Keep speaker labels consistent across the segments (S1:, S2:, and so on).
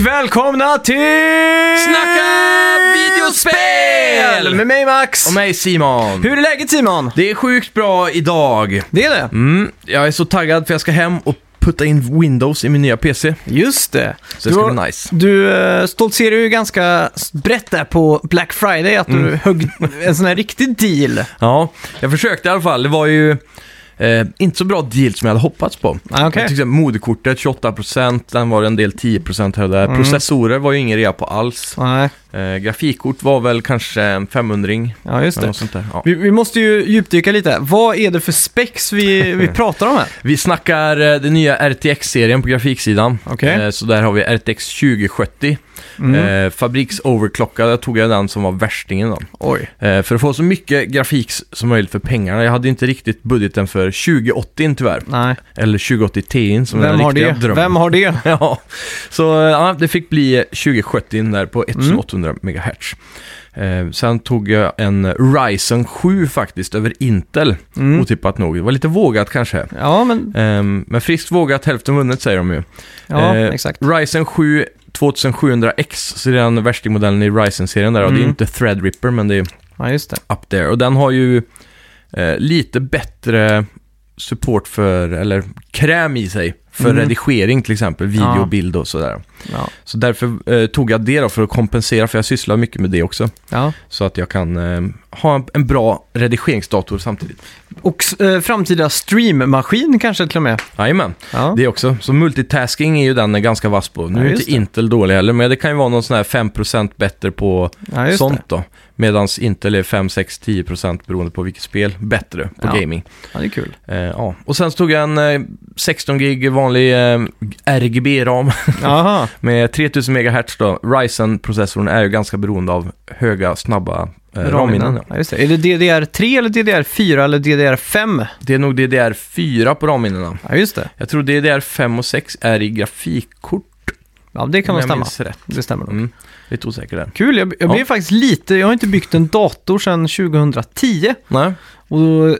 S1: välkomna till...
S2: Snacka videospel!
S1: Med mig Max!
S2: Och Eh, mig Simon.
S1: Hur är läget Simon?
S2: Det är sjukt bra idag.
S1: Det är det.
S2: Mm, jag är så taggad för jag ska hem och putta in Windows i min nya PC.
S1: Just det.
S2: Så det ska
S1: Du-
S2: bli nice.
S1: Du eh, stoltserar ju ganska brett där på Black Friday att du högg en sån här riktig deal.
S2: Ja, jag försökte i alla fall. Det var ju eh, inte så bra deal som jag hade hoppats på.
S1: Ah,
S2: Jag tyckte moderkortet 28%, den var det en del 10% här och där.
S1: Mm.
S2: Processorer var ju ingen rea på alls.
S1: Nej,
S2: Eh, grafikkort var väl kanske en 500 ring.
S1: ja just
S2: Eller
S1: det.
S2: något sånt där. Ja.
S1: Vi, vi måste ju djupdyka lite. Vad är det för specs vi, vi pratar om här?
S2: Vi snackar eh, den nya RTX-serien på grafiksidan.
S1: Okej.
S2: Eh, Så där har vi RTX 2070.
S1: Mm.
S2: Eh, fabriksoverclockad, jag tog jag den som var värstingen då.
S1: Oj.
S2: Eh, för att få så mycket grafik s- som möjligt för pengarna. Jag hade inte riktigt budgeten för 2080 tyvärr.
S1: Nej.
S2: Eller 2080 Ti som är
S1: Vem
S2: den
S1: har,
S2: riktiga
S1: det?
S2: drömmen.
S1: Vem har det?
S2: Ja, så eh, ja, det fick bli 2070 där
S1: Mm.
S2: på 1800 MHz. Eh, sen tog jag en Ryzen 7 faktiskt över Intel,
S1: Mm.
S2: otippat nog. Det var lite vågat kanske.
S1: Ja, men
S2: Eh, men friskt vågat, hälften vunnet säger de ju.
S1: ja,
S2: Eh,
S1: exakt.
S2: Ryzen 7 2700X, så det är den värstingmodellen i Ryzen-serien där. Och det är
S1: Mm.
S2: inte Threadripper, men det är
S1: Ja, just det.
S2: up there. Och den har ju eh, lite bättre support för, eller kräm i sig, för
S1: Mm.
S2: redigering till exempel, video,
S1: Ja.
S2: bild och sådär.
S1: Ja.
S2: Så därför eh, tog jag det då för att kompensera, för jag sysslar mycket med det också.
S1: Ja.
S2: Så att jag kan eh, ha en, en bra redigeringsdator samtidigt.
S1: Och eh, framtida streammaskin kanske till och med.
S2: Jajamän,
S1: Ja.
S2: det också. Så multitasking är ju den ganska vass på. Nu
S1: Ja,
S2: är
S1: just
S2: inte Intel dålig heller, men det kan ju vara någon sån här 5% bättre på
S1: ja, just
S2: sånt
S1: det.
S2: då. Medan Intel är 5, 6, 10% beroende på vilket spel, bättre på
S1: Ja.
S2: gaming.
S1: Ja, det är kul.
S2: Eh, ja. Och sen så tog jag en eh, 16 gig vanlig eh, RGB-ram
S1: Jaha,
S2: med 3000 MHz då. Ryzen-processorn är ju ganska beroende av höga, snabba eh, ramminnen. Ja.
S1: Ja, just det. Är det DDR3 eller DDR4 eller DDR5?
S2: Det är nog DDR4 på ramminnena.
S1: Ja, just det.
S2: Jag tror DDR5 och 6 är i grafikkort.
S1: Ja, det kan
S2: om
S1: nog
S2: jag
S1: stämma.
S2: minns rätt.
S1: Det stämmer nog.
S2: Mm. Lite osäker där.
S1: Kul, jag, jag
S2: Ja.
S1: blev faktiskt lite, jag har inte byggt en dator sedan 2010.
S2: Nej.
S1: Och då,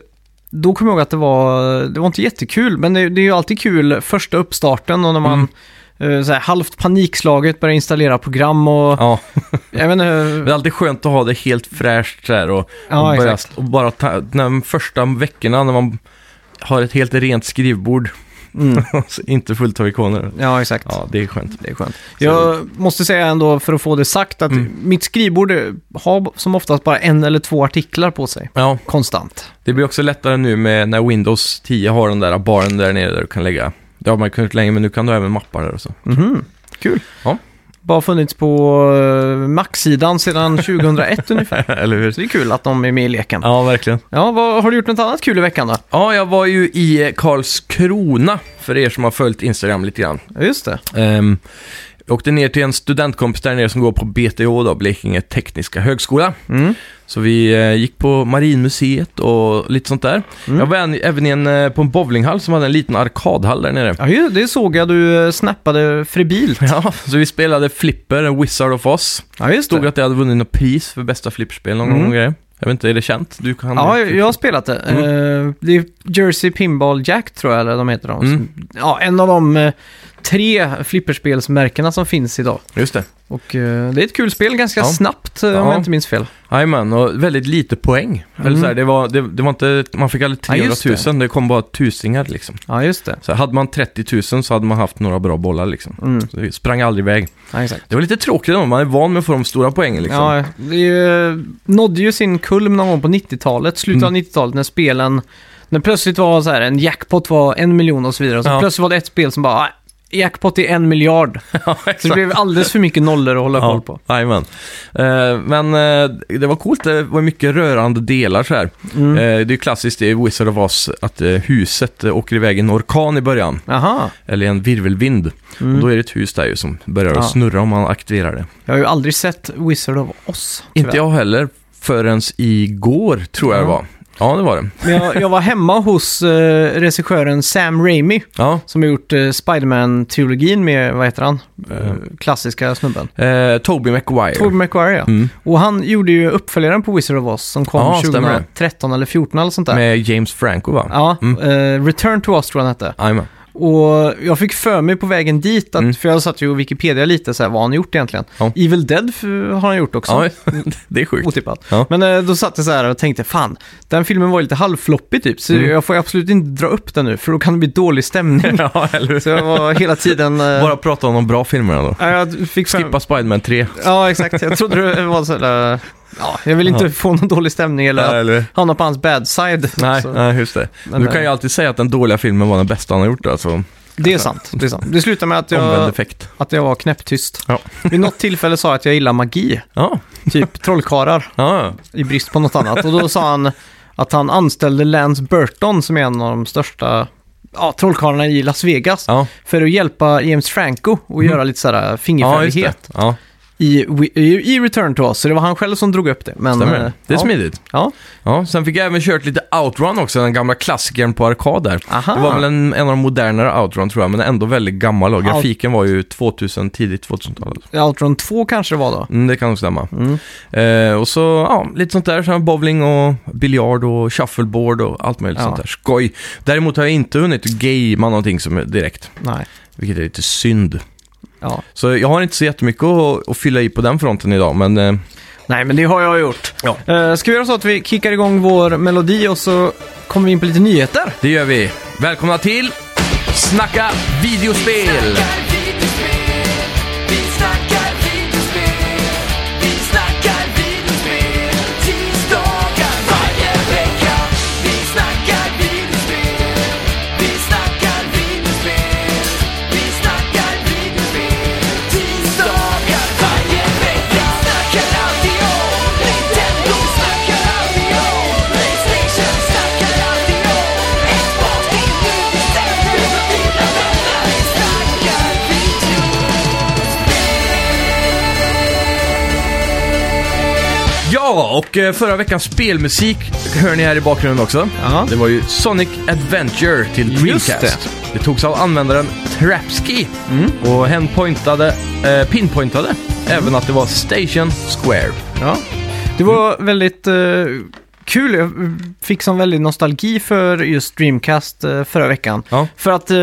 S1: då kom jag ihåg att det var, det var inte jättekul, men det, det är ju alltid kul första uppstarten och när man eh, så här, halvt panikslaget börjar installera program och
S2: Mm. Ja.
S1: jag vet
S2: Det
S1: inte,
S2: är alltid skönt att ha det helt fräscht så här och
S1: ja,
S2: och, börja,
S1: exakt.
S2: och bara ta, de första veckorna när man har ett helt rent skrivbord,
S1: Mm.
S2: så inte fullt av ikoner.
S1: Ja, exakt.
S2: Ja, det är skönt.
S1: Det är skönt. Mm. Jag måste säga ändå, för att få det sagt, att mitt skrivbord eh, har som oftast bara en eller två artiklar på sig.
S2: Ja,
S1: Konstant.
S2: det blir också lättare nu med när Windows 10 har den där baren där nere där du kan lägga. Det har man kunnat länge, men nu kan du även mappar där och så.
S1: Mhm. Kul.
S2: Ja.
S1: Bara funnits på eh, Mac-sidan sedan 2001 ungefär.
S2: Eller hur?
S1: Så det är kul att de är med i leken. Ja,
S2: Ja, verkligen.
S1: vad, har du gjort något annat kul i veckan då?
S2: Ja, jag var ju i Karlskrona, för er som har följt Instagram lite grann.
S1: Ja, Just det.
S2: Ehm, jag åkte ner till en studentkompis där nere som går på BTH, då, Blekinge Tekniska Högskola.
S1: Mm.
S2: Så vi eh, gick på Marinmuseet och lite sånt där.
S1: Mm.
S2: Jag var en, även i en, eh, på en bowlinghall som hade en liten arkadhall där nere.
S1: Ja, ju- det såg jag du eh, snappade fribilt.
S2: Ja, så vi spelade Flipper, Wizard of Oz.
S1: Ja, just
S2: Stod
S1: det.
S2: att jag hade vunnit något pris för bästa flipperspel någon
S1: Mm.
S2: gång. och grejer. Jag vet inte, är det känt? Du kan...
S1: Ja, jag jag har spelat det.
S2: Mm.
S1: Eh, Det är Jersey Pinball Jack tror jag, eller de heter de.
S2: Mm.
S1: Ja, en av de eh, tre flipperspelsmärkena som finns idag.
S2: Just det.
S1: Och eh, det är ett kul spel, ganska
S2: Ja.
S1: snabbt eh, om
S2: Ja.
S1: jag inte minns fel.
S2: Jajamän, och väldigt lite poäng. Eller
S1: Mm.
S2: så här, det var, det, det var inte, man fick aldrig
S1: Ja,
S2: 300
S1: just
S2: 000, det. kom bara tusingar liksom.
S1: Ja, just det.
S2: Så hade man 30 000 så hade man haft några bra bollar liksom.
S1: Mm.
S2: Så det sprang aldrig iväg.
S1: Ja, exakt.
S2: Det var lite tråkigt då, man är van med att få de stora poängen liksom.
S1: Ja, det är ju, eh, nådde ju sin kulm någon gång på 90-talet, slutet
S2: Mm.
S1: av 90-talet när spelen, när plötsligt var så här, en jackpot var en miljon och så vidare. Och så
S2: Ja.
S1: plötsligt var det ett spel som bara, "Ah, jackpot är en miljard.
S2: Ja,
S1: Så det blev alldeles för mycket nollor att hålla koll på.
S2: Jajamän. Eh, men eh, det var coolt, det var mycket rörande delar så här.
S1: Mm.
S2: Eh, det är ju klassiskt i Wizard of Oz att eh, huset eh, åker iväg i en orkan i början,
S1: Aha.
S2: eller en virvelvind.
S1: Mm.
S2: Och då är det ett hus där ju som börjar
S1: Ja.
S2: att snurra om man aktiverar det.
S1: Jag har ju aldrig sett Wizard of Oz. tyvärr.
S2: Inte jag heller förrän igår, tror jag det
S1: Ja.
S2: var. Ja, det var det.
S1: Men jag, jag var hemma hos eh, regissören Sam Raimi
S2: Ja.
S1: som har gjort eh, Spiderman-teologin med, vad heter han,
S2: Eh.
S1: klassiska snubben.
S2: Eh, Toby Maguire.
S1: Tobey Maguire, ja.
S2: Mm.
S1: Och han gjorde ju uppföljaren på Wizard of Oz som kom
S2: Ja, stämmer.
S1: 2013 eller 14 eller sånt där.
S2: Med James Franco va?
S1: Ja, eh, Return to Oz tror jag den hette.
S2: Jajamän.
S1: Och jag fick för mig på vägen dit, att,
S2: Mm.
S1: för jag satt ju och Wikipedia lite, så här, vad har han gjort egentligen?
S2: Ja.
S1: Evil Dead f- har han gjort också.
S2: Ja, det är sjukt.
S1: Otippat.
S2: Ja.
S1: Men eh, då satt jag så här och tänkte, fan, den filmen var ju lite halvfloppig typ, så
S2: Mm.
S1: jag får ju absolut inte dra upp den nu, för då kan det bli dålig stämning.
S2: ja, eller hur?
S1: så jag var hela tiden... eh,
S2: Bara prata om de bra filmerna då.
S1: ja, jag fick för-
S2: Skippa Spiderman 3.
S1: Ja, exakt. Jag trodde det var så här, eh, ja, jag vill inte
S2: Ja.
S1: få någon dålig stämning eller att
S2: eller?
S1: hamna på hans bad side.
S2: Nej,
S1: så,
S2: nej, just det.
S1: Men, eh,
S2: du kan ju alltid säga att den dåliga filmen var den bästa han har gjort. Alltså,
S1: Det är sant. Det, är sant. det slutade med att
S2: omvänd
S1: jag,
S2: effekt.
S1: att jag var knäpptyst.
S2: Ja.
S1: Vid något tillfälle sa jag att jag gillar magi,
S2: Ja,
S1: typ trollkarlar,
S2: ja.
S1: i brist på något annat. Och då sa han att han anställde Lance Burton, som är en av de största ja, trollkarlarna i Las Vegas,
S2: ja.
S1: för att hjälpa James Franco och göra lite så här
S2: Mhm.
S1: eh,
S2: ja just
S1: fingerfärdighet
S2: det. Ja,
S1: i, i, i Return to Us. Så det var han själv som drog upp det. Men,
S2: stämmer.
S1: eh,
S2: det
S1: ja.
S2: är smidigt.
S1: Ja,
S2: Ja, sen fick jag även kört lite Outrun också, den gamla klassikern på arkad där.
S1: aha.
S2: Det var väl en, en av de modernare Outrun tror jag, men ändå väldigt gammal. Och
S1: Out-
S2: grafiken var ju 2000, tidigt 2000-tal.
S1: Outrun 2 kanske det var då.
S2: Mm, det kan nog stämma.
S1: Mm.
S2: Eh, och så, ja, lite sånt där. Som bowling och biljard och shuffleboard och allt möjligt
S1: Ja.
S2: sånt där. Skoj. Däremot har jag inte hunnit gamea någonting som är direkt,
S1: Nej.
S2: vilket är lite synd.
S1: Ja.
S2: Så jag har inte så jättemycket att, att fylla i på den fronten idag, men eh,
S1: Nej, men det har jag gjort.
S2: ja,
S1: Eh, Ska vi göra så att vi kickar igång vår melodi och så kommer vi in på lite nyheter?
S2: det gör vi. Välkomna till Snacka videospel!
S3: Snackar videospel, vi snackar videospel, vi snackar videospel, tisdagar varje vecka. Vi snackar videospel, vi snackar videospel, vi snackar videospel, tisdagar varje vecka. Snackar alltid om Nintendo, snackar alltid om Playstation, snackar alltid om Xbox, din Nintendo, dina vänner. Vi snackar video.
S2: Ja, och eh, förra veckans spelmusik hör ni här i bakgrunden också.
S1: Ja.
S2: Det var ju Sonic Adventure till
S1: Just
S2: Dreamcast. Det. Mm. togs av användaren Trapski och hen pointade, eh, pinpointade även att det var Station Square.
S1: Ja. Det var väldigt eh, kul. Jag fick sån väldigt nostalgi för just Dreamcast eh, förra veckan.
S2: Ja.
S1: För att eh,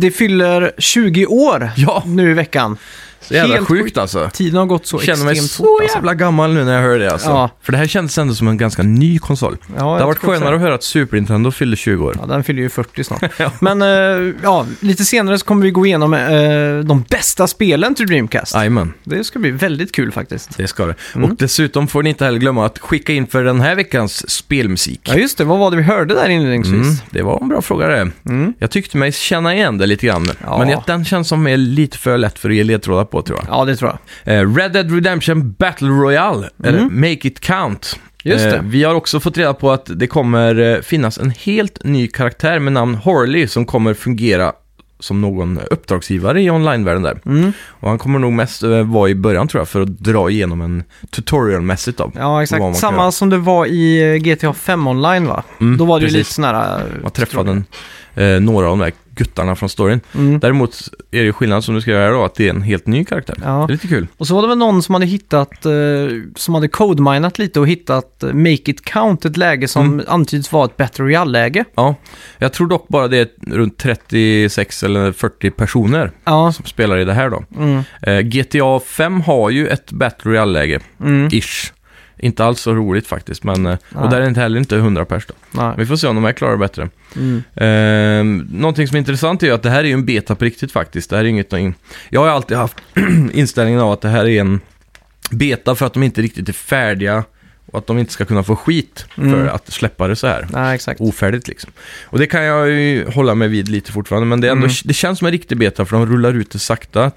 S1: det fyller 20 år
S2: Ja.
S1: nu i veckan.
S2: Så jävla
S1: Helt
S2: sjukt alltså.
S1: Tiden har gått så
S2: Känner mig
S1: extremt
S2: så
S1: alltså.
S2: jävla gammal nu när jag hör det alltså.
S1: Ja.
S2: För det här kändes ändå som en ganska ny konsol.
S1: Ja,
S2: det
S1: jag
S2: har varit
S1: skulle
S2: skönare
S1: säga.
S2: att höra att Super Nintendo fyllde 20 år.
S1: Ja, den fyller ju 40 snart. Men eh, ja, lite senare så kommer vi gå igenom eh, de bästa spelen till Dreamcast.
S2: Jajamän.
S1: Det ska bli väldigt kul faktiskt.
S2: Det ska det.
S1: Mm.
S2: Och dessutom får ni inte heller glömma att skicka in för den här veckans spelmusik.
S1: Ja, just det. Vad var det vi hörde där inledningsvis?
S2: Mm, det var en bra fråga det. Jag tyckte mig känna igen det lite grann.
S1: Ja.
S2: Men jag- den känns som är lite för lätt för att ge ledtrådar på tror jag.
S1: Ja, det tror jag.
S2: Eh, Red Dead Redemption Battle Royale, eller Make It Count. Eh,
S1: Just det.
S2: vi har också fått reda på att det kommer eh, finnas en helt ny karaktär med namn Horley som kommer fungera som någon uppdragsgivare i online-världen där.
S1: Mm.
S2: Och han kommer nog mest eh, vara i början tror jag för att dra igenom en tutorial-mässigt då.
S1: Ja,
S2: Vad man
S1: exakt.
S2: kan
S1: Samma
S2: göra.
S1: som det var i eh, GTA 5 online va? Då var det ju
S2: Mm, precis.
S1: lite sån här... eh,
S2: Man träffade en, eh, några av de där guttarna från storyn.
S1: Mm.
S2: Däremot är det skillnad som du ska göra då, att det är en helt ny karaktär.
S1: Ja.
S2: Det är lite kul.
S1: Och så var det väl någon som hade hittat, eh, som hade codeminat lite och hittat eh, Make It Count, ett läge som
S2: Mm.
S1: antyds vara ett Battle Royale-läge.
S2: Ja, jag tror dock bara det är runt 36 eller 40 personer
S1: Ja,
S2: som spelar i det här då.
S1: mm.
S2: Eh, GTA 5 har ju ett Battle Royale-läge,
S1: Mm.
S2: ish. Inte alls så roligt faktiskt, men... eh,
S1: Nej.
S2: Och där är det inte heller inte 100 pers då.
S1: Nej.
S2: Vi får se om de här klarar bättre.
S1: Mm.
S2: Eh, någonting som är intressant är ju att det här är ju en beta på riktigt faktiskt. Det här är inget... Jag har ju alltid haft inställningen av att det här är en beta för att de inte riktigt är färdiga och att de inte ska kunna få skit för
S1: Mm.
S2: att släppa det så här
S1: Nej, exakt.
S2: ofärdigt liksom. Och det kan jag ju hålla mig vid lite fortfarande, men det, är ändå,
S1: Mm.
S2: det känns som en riktig beta för de rullar ut det sakta.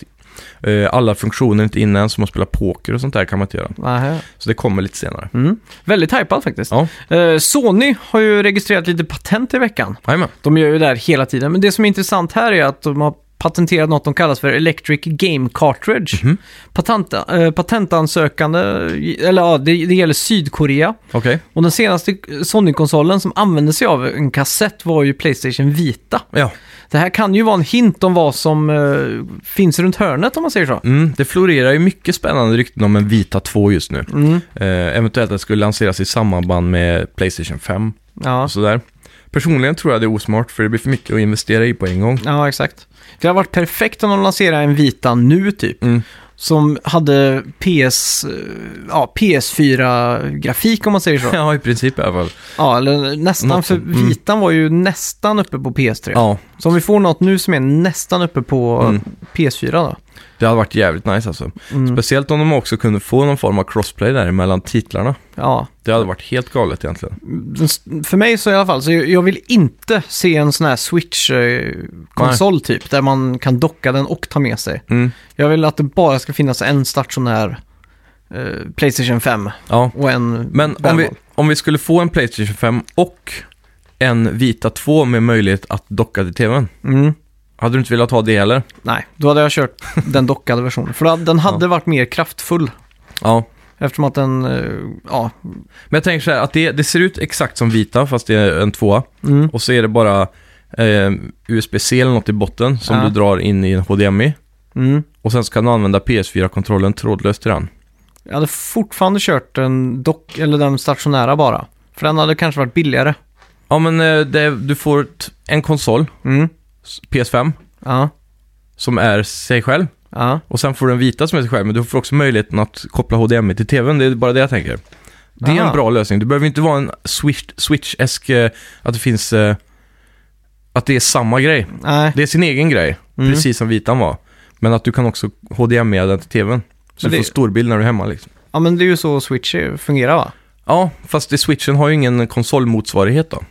S2: Eh, Alla funktioner är inte inne än, som att spela poker och sånt där kan man inte göra.
S1: Nähä.
S2: Så det kommer lite senare.
S1: Mm. Väldigt hypad faktiskt.
S2: Ja.
S1: Eh, Sony har ju registrerat lite patent i veckan.
S2: Jajamän.
S1: De gör ju det här hela tiden, men det som är intressant här är att de har patenterat något de kallas för Electric Game Cartridge.
S2: Mhm.
S1: Patent, eh, patentansökande, eller ja, det, det gäller Sydkorea.
S2: Okej.
S1: Och den senaste Sony-konsolen som använde sig av en kassett var ju Playstation Vita.
S2: Ja.
S1: Det här kan ju vara en hint om vad som eh, finns runt hörnet om man säger så.
S2: Mm, det florerar ju mycket spännande rykten om en Vita 2 just nu.
S1: Mm.
S2: Eh, eventuellt att det skulle lanseras i samband med Playstation 5
S1: Ja.
S2: och sådär. Personligen tror jag det är osmart för det blir för mycket att investera i på en gång.
S1: Ja, exakt. Det har varit perfekt om de lanserar en Vita nu typ.
S2: Mm.
S1: Som hade PS, eh, ja, PS4-grafik om man säger så.
S2: Ja, i princip i alla fall.
S1: ja, eller nästan,
S2: Något
S1: för
S2: sånt. Mm.
S1: Vitan var ju nästan uppe på PS3.
S2: Ja,
S1: Så om vi får något nu som är nästan uppe på
S2: Mm.
S1: PS4 då.
S2: det hade varit jävligt nice alltså.
S1: Mm.
S2: Speciellt om de också kunde få någon form av crossplay där mellan titlarna.
S1: Ja,
S2: Det hade varit helt galet egentligen.
S1: Den s- för mig så i alla fall, så jag jag vill inte se en sån här Switch-konsol typ, där man kan docka den och ta med sig.
S2: Mm.
S1: Jag vill att det bara ska finnas en stationär eh, Playstation 5
S2: Ja,
S1: och en
S2: men om vi,
S1: bärbar.
S2: om vi skulle få en Playstation 5 och en Vita 2 med möjlighet att docka till tvn.
S1: Mm,
S2: Hade du inte velat ha det heller?
S1: nej, då hade jag kört den dockade versionen. För då hade- den hade varit mer kraftfull.
S2: Ja.
S1: Eftersom att den, eh, ja,
S2: Men jag tänker så här, att det, det ser ut exakt som Vita fast det är en tvåa.
S1: mm,
S2: Och så är det bara eh, USB-C eller något i botten som
S1: Ja.
S2: du drar in i en HDMI.
S1: mm.
S2: Och sen så kan du använda PS4-kontrollen trådlöst till den.
S1: Jag hade fortfarande kört den dock, eller den stationära bara. För den hade kanske varit billigare.
S2: Ja men eh, det, du får t- en konsol,
S1: Mm,
S2: s- PS5,
S1: ja,
S2: som är sig själv.
S1: ja.
S2: Och sen får du en vita som är sig själv, men du får också möjligheten att koppla HDMI till TVn. Det är bara det jag tänker. Det är
S1: Aha.
S2: en bra lösning. Det behöver inte vara en Switch- Switch-esk, eh, att det finns... eh, Att det är samma grej.
S1: Nej.
S2: Det är sin egen grej,
S1: Mm.
S2: precis som vitan var. Men att du kan också HDMI E den till TVn. Så
S1: Men
S2: du
S1: det-
S2: får storbild när du är hemma liksom.
S1: Ja, men det är ju så Switch är- fungerar va?
S2: Ja, fast det, Switchen har ju ingen konsolmotsvarighet då.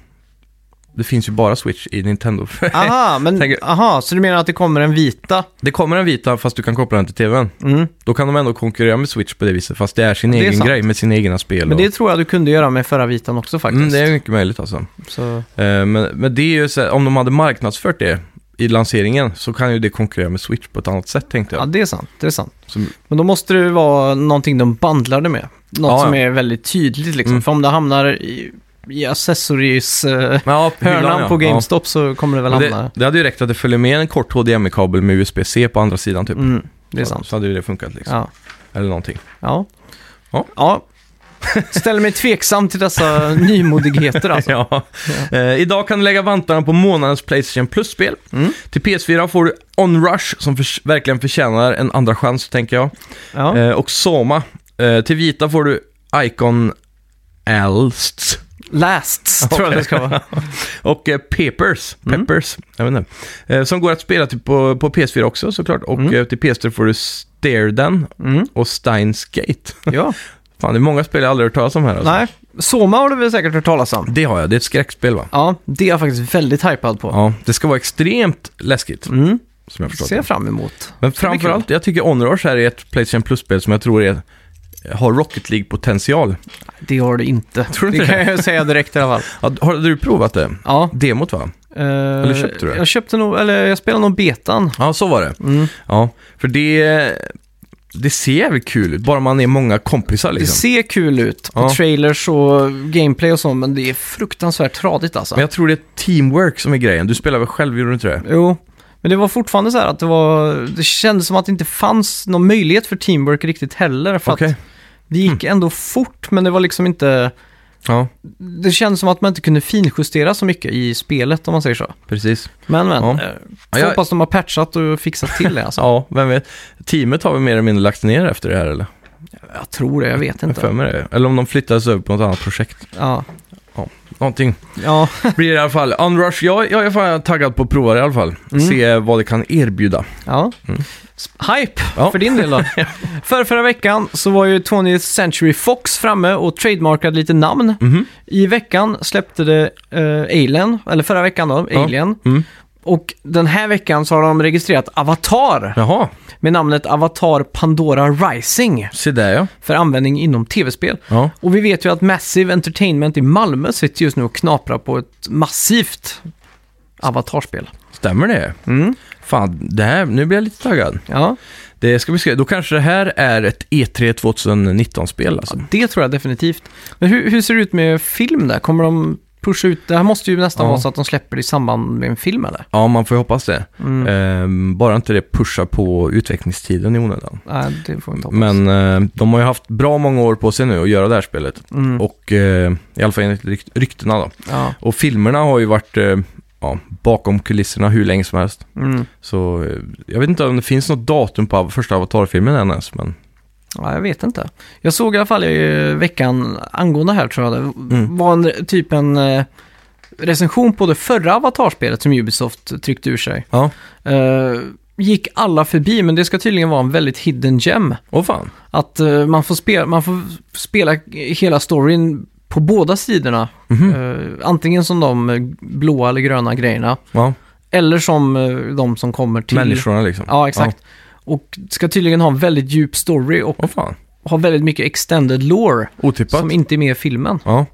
S2: Det finns ju bara Switch i Nintendo.
S1: Aha, men,
S2: Tänker-
S1: aha, så du menar att det kommer en vita?
S2: det kommer en vita fast du kan koppla den till TVn.
S1: Mm.
S2: Då kan de ändå konkurrera med Switch på det viset, fast det är sin
S1: Ja, det är
S2: egen
S1: sant.
S2: grej med sina egna spel.
S1: Men
S2: och-
S1: det tror jag du kunde göra med förra vitan också faktiskt.
S2: Mm, det är mycket möjligt alltså.
S1: så...
S2: Eh, men, men det är ju så här, om de hade marknadsfört det i lanseringen så kan ju det konkurrera med Switch på ett annat sätt tänkte
S1: Ja,
S2: jag.
S1: det är sant. Det är sant.
S2: Som-
S1: Men då måste det ju vara någonting de bandlade med. Något
S2: Ja, ja.
S1: som är väldigt tydligt liksom.
S2: Mm.
S1: För om det hamnar i, i accessories eh,
S2: Ja, hyllan,
S1: hörnan
S2: ja.
S1: på
S2: Ja.
S1: GameStop så kommer det väl
S2: Men
S1: hamna.
S2: Det, det hade ju räckt att det följer med en kort HDMI-kabel med USB-C på andra sidan typ.
S1: Mm, det är sant.
S2: Så, så hade ju det funkat liksom.
S1: Ja.
S2: Eller någonting.
S1: Ja.
S2: Ja.
S1: Ställer mig tveksam till dessa nymodigheter alltså.
S2: Ja. Eh, idag kan du lägga vantarna på månadens Playstation Plus-spel.
S1: Mm.
S2: Till PS4 får du Onrush som förs- verkligen förtjänar en andra chans tänker jag.
S1: Ja.
S2: Eh, och Soma. Eh, till Vita får du Icon Alsts.
S1: Lasts tror jag det ska vara.
S2: Och eh, Peppers,
S1: Mm.
S2: Peppers jag vet inte, eh, som går att spela till på, på PS4 också såklart. Och eh, till PS3 får du Stairden
S1: Mm.
S2: och Steins Gate.
S1: Ja.
S2: Fan, det är många spel jag aldrig hört talas om här alltså.
S1: Nej, Soma har du väl säkert hört talas om?
S2: Det har jag, det är ett skräckspel va?
S1: Ja, det är jag faktiskt väldigt hypad på.
S2: Ja, det ska vara extremt läskigt,
S1: Mm,
S2: som jag förstått
S1: ser
S2: det.
S1: jag fram emot.
S2: Men
S1: bli kul.
S2: framförallt, jag tycker Onrush här är ett Playstation Plus-spel som jag tror är, har Rocket League-potential.
S1: Det har du inte.
S2: Tror du
S1: det
S2: inte
S1: kan jag säga direkt i alla fall.
S2: Ja, Har du provat det?
S1: Ja.
S2: Demot va?
S1: Eller
S2: köpte du det? Liksom.
S1: Jag köpte nog, eller jag spelade nog betan.
S2: Ja, så var det.
S1: Mm.
S2: Ja, för det, det ser jävligt kul ut, bara man är många kompisar
S1: Det
S2: liksom.
S1: ser kul ut på
S2: Ja.
S1: trailers och gameplay och så, men det är fruktansvärt tradigt alltså.
S2: Men jag tror det är teamwork som är grejen. Du spelar väl själv, gjorde du inte det?
S1: Jo, men det var fortfarande så här att det var, det kändes som att det inte fanns någon möjlighet för teamwork riktigt heller. För att
S2: Okej. Mm.
S1: det gick ändå fort, men det var liksom inte,
S2: Ja,
S1: det kändes som att man inte kunde finjustera så mycket i spelet om man säger så.
S2: precis.
S1: Men men,
S2: Ja.
S1: eh,
S2: Ja, jag-
S1: hoppas de har patchat och fixat till det alltså.
S2: Ja, vem vet. Teamet har väl mer eller mindre lagts ner efter det här eller?
S1: Jag tror det, jag vet
S2: Jag har för
S1: inte.
S2: mig det. Eller om de flyttades över på något annat projekt.
S1: Ja,
S2: Någonting
S1: ja.
S2: blir det i alla fall. Unrush, jag, jag är fan taggad på att prova det i alla fall.
S1: Mm.
S2: Se vad det kan erbjuda.
S1: ja. S- Hype
S2: Mm. Ja.
S1: för din del då. För förra veckan så var ju 20th Century Fox framme och trademarkade lite namn.
S2: Mhm.
S1: I veckan släppte det eh, Alien, eller förra veckan då,
S2: Ja.
S1: Alien.
S2: Mm.
S1: Och den här veckan så har de registrerat Avatar
S2: Jaha,
S1: med namnet Avatar Pandora Rising
S2: se där ja.
S1: för användning inom tv-spel.
S2: Ja,
S1: Och vi vet ju att Massive Entertainment i Malmö sitter just nu och knaprar på ett massivt avatarspel.
S2: stämmer det?
S1: Mm.
S2: Fan, det här, nu blir jag lite taggad.
S1: Ja,
S2: Det ska vi skriva. Då kanske det här är ett E E3 2019-spel alltså.
S1: det tror jag definitivt. Men hur, hur ser det ut med film där? Kommer de pusha ut, det här måste ju nästan
S2: Ja.
S1: vara så att de släpper det i samband med en film eller?
S2: Ja, man får ju hoppas det.
S1: Mm.
S2: Ehm, bara inte det pushar på utvecklingstiden i onödan.
S1: Nej, det får vi inte hoppas.
S2: Men eh, de har ju haft bra många år på sig nu att göra det här spelet.
S1: Mm.
S2: Och eh, i alla fall enligt rykt- ryktena då.
S1: Ja.
S2: Och filmerna har ju varit eh, ja, bakom kulisserna hur länge som helst.
S1: Mm.
S2: Så eh, jag vet inte om det finns något datum på av- första Avatar-filmen än ens, men
S1: Ja, jag vet inte. Jag såg i alla fall i eh, veckan angående här tror jag det
S2: Mm.
S1: var en, typ en eh, recension på det förra avatarspelet som Ubisoft tryckte ur sig.
S2: ja.
S1: Eh, gick alla förbi, men det ska tydligen vara en väldigt hidden gem.
S2: Åh fan.
S1: Att eh, man, får spela, man får spela hela storyn på båda sidorna.
S2: Mhm.
S1: Eh, antingen som de eh, blåa eller gröna grejerna.
S2: Ja,
S1: Eller som eh, de som kommer till...
S2: människorna liksom.
S1: Ja, exakt. Och ska tydligen ha en väldigt djup story och
S2: Åh fan.
S1: ha väldigt mycket extended lore.
S2: Otippat.
S1: Som inte är med i filmen.
S2: Ja.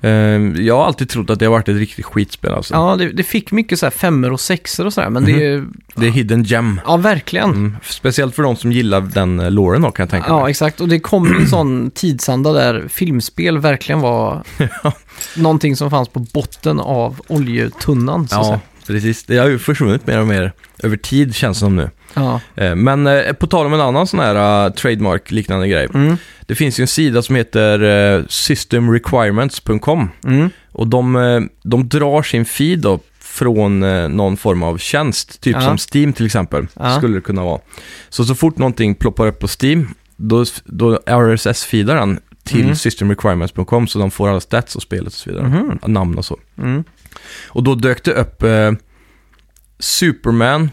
S2: Ehm, jag har alltid trott att det har varit ett riktigt skitspel alltså.
S1: Ja, det, det fick mycket så här femmor och sexor och sådär, men det är...
S2: Det är hidden gem.
S1: Ja, verkligen.
S2: Mhm. Mm. Speciellt för de som gillar den eh, loren då kan jag tänka
S1: Ja,
S2: mig.
S1: exakt. Och det kom en sån tidsanda där filmspel verkligen var någonting som fanns på botten av oljetunnan. Så att
S2: Ja,
S1: säga.
S2: precis. Det har ju försvunnit mer och mer över tid känns det som nu.
S1: ja.
S2: Eh, Men eh, på tal om en annan sån här eh, trademark-liknande grej.
S1: Mm,
S2: Det finns ju en sida som heter eh, systemrequirements.com
S1: mm,
S2: och de, eh, de drar sin feed då från eh, någon form av tjänst, typ
S1: Ja.
S2: som Steam till exempel,
S1: Ja.
S2: skulle det kunna vara. Så så fort någonting ploppar upp på Steam, då, då RSS-feedar den till
S1: Mm.
S2: systemrequirements.com så de får alla stats och spelet och så vidare,
S1: Mhm.
S2: namn och så.
S1: mm.
S2: Och då dök det upp eh, Superman,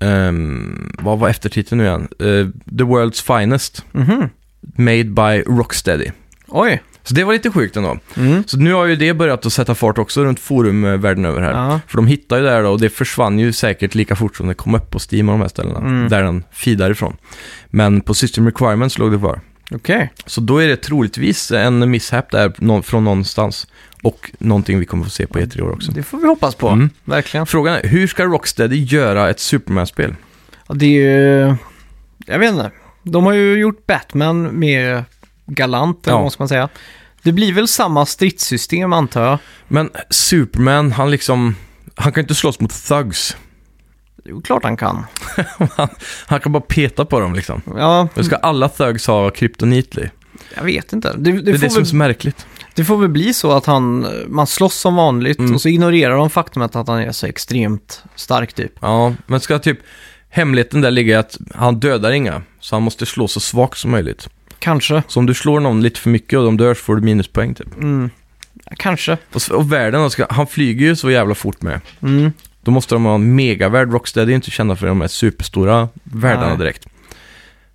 S2: ehm, vad var eftertiteln nu igen? Eh, The World's Finest,
S1: mhm.
S2: Made by Rocksteady.
S1: Oj.
S2: Så det var lite sjukt ändå.
S1: Mm.
S2: Så nu har ju det börjat att sätta fart också runt forum eh, världen över här.
S1: Ja.
S2: För de hittade ju det här då och det försvann ju säkert lika fort som det kom upp på Steam och de här ställena.
S1: Mm.
S2: Där den feedar ifrån. Men på System Requirements låg det kvar.
S1: Okej.
S2: Så då är det troligtvis en mishap där nå- från någonstans. Och någonting vi kommer få se på E3 i år också.
S1: Det får vi hoppas på.
S2: Mm.
S1: Verkligen.
S2: Frågan är, hur ska Rocksteady göra ett Superman-spel?
S1: Ja, det är ju... Jag vet inte. De har ju gjort Batman med galant, eller
S2: Ja.
S1: vad ska man säga. Det blir väl samma stridssystem antar jag.
S2: Men Superman, han liksom... Han kan ju inte slåss mot thugs.
S1: Jo, klart han kan.
S2: Han kan bara peta på dem liksom.
S1: Ja,
S2: Då ska alla thugs ha kryptonit Lee.
S1: jag vet inte. Det, det,
S2: Det
S1: får
S2: är det som är
S1: väl,
S2: så märkligt.
S1: det får väl bli så att han, man slåss som vanligt
S2: Mm.
S1: och så ignorerar de faktumet att han är så extremt stark typ.
S2: Ja, men ska typ... Hemligheten där ligger i att han dödar inga, så han måste slå så svagt som möjligt.
S1: Kanske.
S2: Så om du slår någon lite för mycket och de dör så får du minuspoäng typ.
S1: Mm. Kanske.
S2: Och, s- och världen, då ska, han flyger ju så jävla fort med.
S1: Mm.
S2: Då måste de ha en megavärld. Rocksteady är ju inte kända för de här superstora världarna
S1: Nej.
S2: direkt.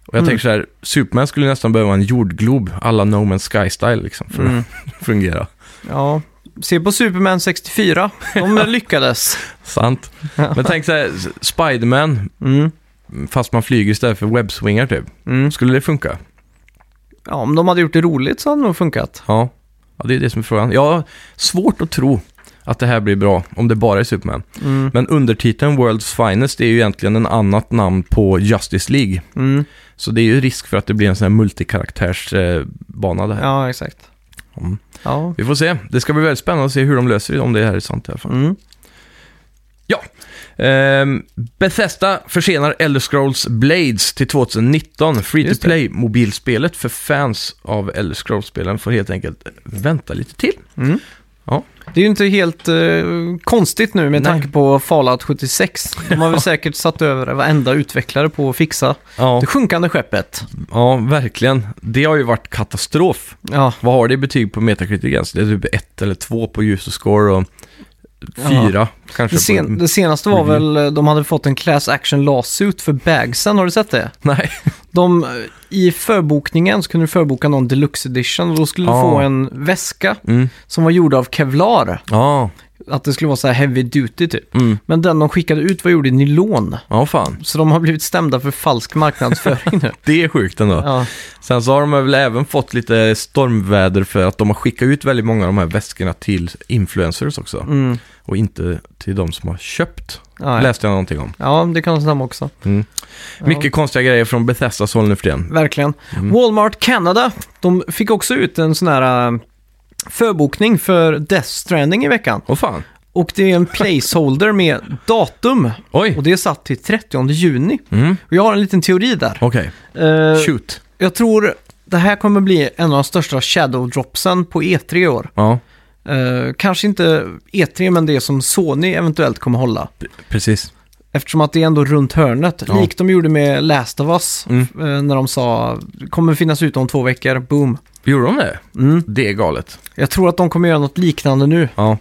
S2: Och jag
S1: Mm.
S2: tänker så här, Superman skulle nästan behöva en jordglob alla No Man's Sky-style liksom, för
S1: Mm.
S2: att fungera.
S1: Ja. Se på Superman 64. De lyckades.
S2: Sant. Men tänk så här, S- Spiderman,
S1: Mm.
S2: fast man flyger istället för webbswingar typ.
S1: Mm.
S2: Skulle det funka?
S1: Ja, om de hade gjort det roligt så hade det nog funkat.
S2: Ja. ja, det är det som är frågan. Jag har svårt att tro att det här blir bra om det bara är Superman.
S1: Mm.
S2: Men undertiteln World's Finest är ju egentligen en annat namn på Justice League.
S1: Mm.
S2: Så det är ju risk för att det blir en sån här multikaraktärsbana det här.
S1: Ja, exakt.
S2: Mm.
S1: Ja.
S2: Vi får se. Det ska bli väldigt spännande att se hur de löser det, om det här är sant i alla fall.
S1: Mm.
S2: Ehm, Bethesda försenar Elder Scrolls Blades till 2019. Free to
S1: Just det.
S2: play-mobilspelet för fans av Elder Scrolls-spelen får helt enkelt vänta lite till.
S1: Mm.
S2: Ja.
S1: Det är ju inte helt eh, konstigt nu med
S2: Nej.
S1: tanke på Fallout 76. De har väl säkert satt över varenda utvecklare på att fixa
S2: Ja,
S1: det sjunkande skeppet.
S2: ja verkligen. Det har ju varit katastrof.
S1: Ja,
S2: Vad har det i betyg på Metacritic ens? Det är typ ett eller två på user score och fyra kanske.
S1: det, sen,
S2: på...
S1: det senaste var
S2: review.
S1: väl eh, de hade fått en class action lawsuit för bagsen, har du sett det?
S2: Nej.
S1: De, eh, I förbokningen så kunde du förboka någon deluxe edition och då skulle du
S2: Ah.
S1: få en väska
S2: Mm.
S1: som var gjord av kevlar.
S2: Ja,
S1: Att det skulle vara så här heavy duty typ.
S2: mm.
S1: Men den de skickade ut var gjord i nylon.
S2: ja fan.
S1: Så de har blivit stämda för falsk marknadsföring nu.
S2: Det är sjukt ändå.
S1: Ja.
S2: Sen så har de väl även fått lite stormväder för att de har skickat ut väldigt många av de här väskorna till influencers också.
S1: Mm.
S2: Och inte till de som har köpt,
S1: Ja, ja.
S2: läste jag någonting om.
S1: ja, det kan stämma också.
S2: Mm.
S1: Ja,
S2: Mycket konstiga grejer från Bethesdas håll nu för tiden.
S1: Verkligen.
S2: Mm.
S1: Walmart Canada, de fick också ut en sån här eh, förbokning för Death Stranding i veckan.
S2: Åh fan.
S1: Och det är en placeholder med datum.
S2: Oj.
S1: Och det är satt till 30 juni.
S2: Mm.
S1: Och jag har en liten teori där.
S2: Okej.
S1: Eh,
S2: Shoot.
S1: jag tror det här kommer bli en av de största shadow dropsen på E3 i år.
S2: Ja,
S1: Eh, kanske inte E3, men det som Sony eventuellt kommer hålla.
S2: precis.
S1: Eftersom att det är ändå runt hörnet.
S2: Ja.
S1: Likt de gjorde med Last of Us.
S2: Mm.
S1: eh, när de sa, "Det kommer finnas ute om två veckor, boom.
S2: Gjorde de det?
S1: Mm.
S2: Det är galet.
S1: Jag tror att de kommer göra något liknande nu.
S2: Ja.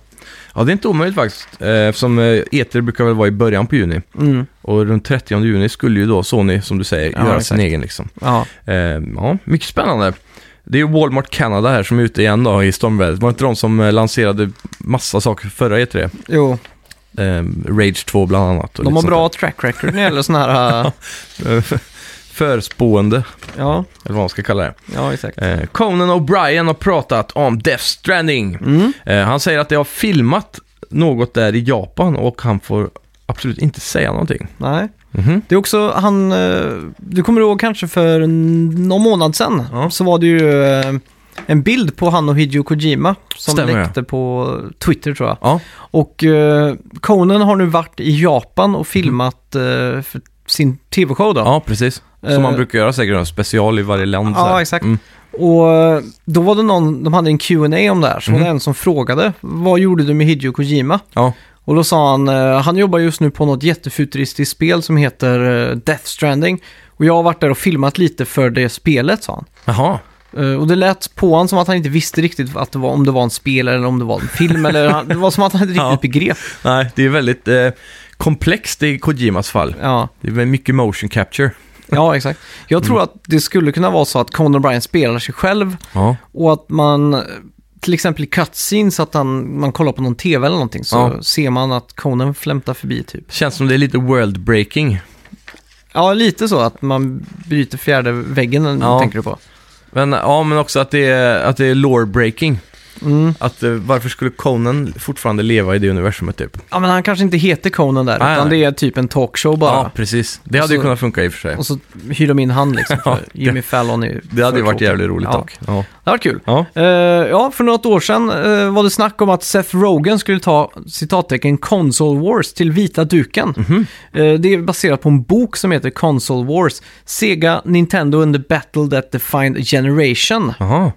S2: Ja, det är inte omöjligt faktiskt. eh, Eftersom eh, E3 brukar väl vara i början på juni.
S1: Mm.
S2: Och runt 30 juni skulle ju då Sony, som du säger,
S1: Ja,
S2: göra
S1: exakt.
S2: sin egen liksom.
S1: Ja.
S2: Eh, ja, mycket spännande. Det är ju Walmart Canada här som är ute igen då i stormvädret. Var det inte de som eh, lanserade massa saker förra E3?
S1: Jo,
S2: Eh, Rage 2 bland annat.
S1: de
S2: och lite
S1: har
S2: sånt
S1: bra track record när det gäller sådana här... eh,
S2: där. Eh, Förspående,
S1: ja,
S2: eller vad man ska kalla det.
S1: ja exakt.
S2: Eh, Conan O'Brien har pratat om Death Stranding.
S1: Mm.
S2: Eh, han säger att de har filmat något där i Japan och han får absolut inte säga någonting.
S1: Nej.
S2: Mhm.
S1: Det är också han, eh, du kommer ihåg kanske för n- någon månad sedan
S2: Ja.
S1: så var det ju eh, en bild på han och Hideo Kojima som
S2: Stämmer, ja.
S1: läckte på Twitter tror jag.
S2: Ja,
S1: Och eh, Conan har nu varit i Japan och filmat eh, för sin tv-show då.
S2: Mhm. ja, precis. Som
S1: Eh,
S2: man brukar göra säkert, en special i varje land. så
S1: Ja,
S2: här.
S1: exakt.
S2: Mm.
S1: Och eh, då var det någon, de hade en Q&A om det här, så
S2: Mhm.
S1: var det en som frågade vad gjorde du med Hideo Kojima?
S2: Ja,
S1: Och då sa han, eh, han jobbar just nu på något jättefuturistiskt spel som heter eh, Death Stranding. Och jag har varit där och filmat lite för det spelet, sa han.
S2: jaha.
S1: Eh, Och det lät på honom som att han inte visste riktigt att det var, om det var en spel eller om det var en film. eller han, det var som att han inte
S2: Ja.
S1: riktigt begrep.
S2: Nej, det är väldigt eh, komplext i Kojimas fall.
S1: Ja,
S2: Det är väl mycket motion capture.
S1: ja exakt. Jag
S2: Mm.
S1: tror att det skulle kunna vara så att Conan O'Brien spelar sig själv
S2: Ja,
S1: och att man eh, till exempel i cutscenes, att han, man kollar på någon tv eller någonting, så
S2: Ja.
S1: ser man att Conan flämtar förbi typ.
S2: känns som det är lite world breaking.
S1: Ja, lite så att man bryter fjärde väggen,
S2: Ja.
S1: tänker du på.
S2: Men, ja, men också att det är, att det är lore breaking.
S1: Mm.
S2: Att eh, varför skulle Conan fortfarande leva i det universumet typ?
S1: Ja, men han kanske inte heter Conan där,
S2: Nej,
S1: utan
S2: nej.
S1: det är typ en talkshow
S2: Ja,
S1: bara.
S2: precis. Det hade
S1: Och så-
S2: ju kunnat funka i och för sig.
S1: Och så hyr de in han liksom, för
S2: Ja,
S1: Jimmy Fallon är
S2: Det hade ju
S1: för
S2: varit
S1: tråkig.
S2: jävligt roligt
S1: ja.
S2: dock. Ja.
S1: Det var kul.
S2: Ja.
S1: Eh, ja, för något år sedan eh, var det snack om att Seth Rogen skulle ta citattecken Console Wars till vita duken.
S2: Mhm.
S1: Eh, det är baserat på en bok som heter Console Wars, Sega, Nintendo and the Battle That Defined a Generation.
S2: Jaha.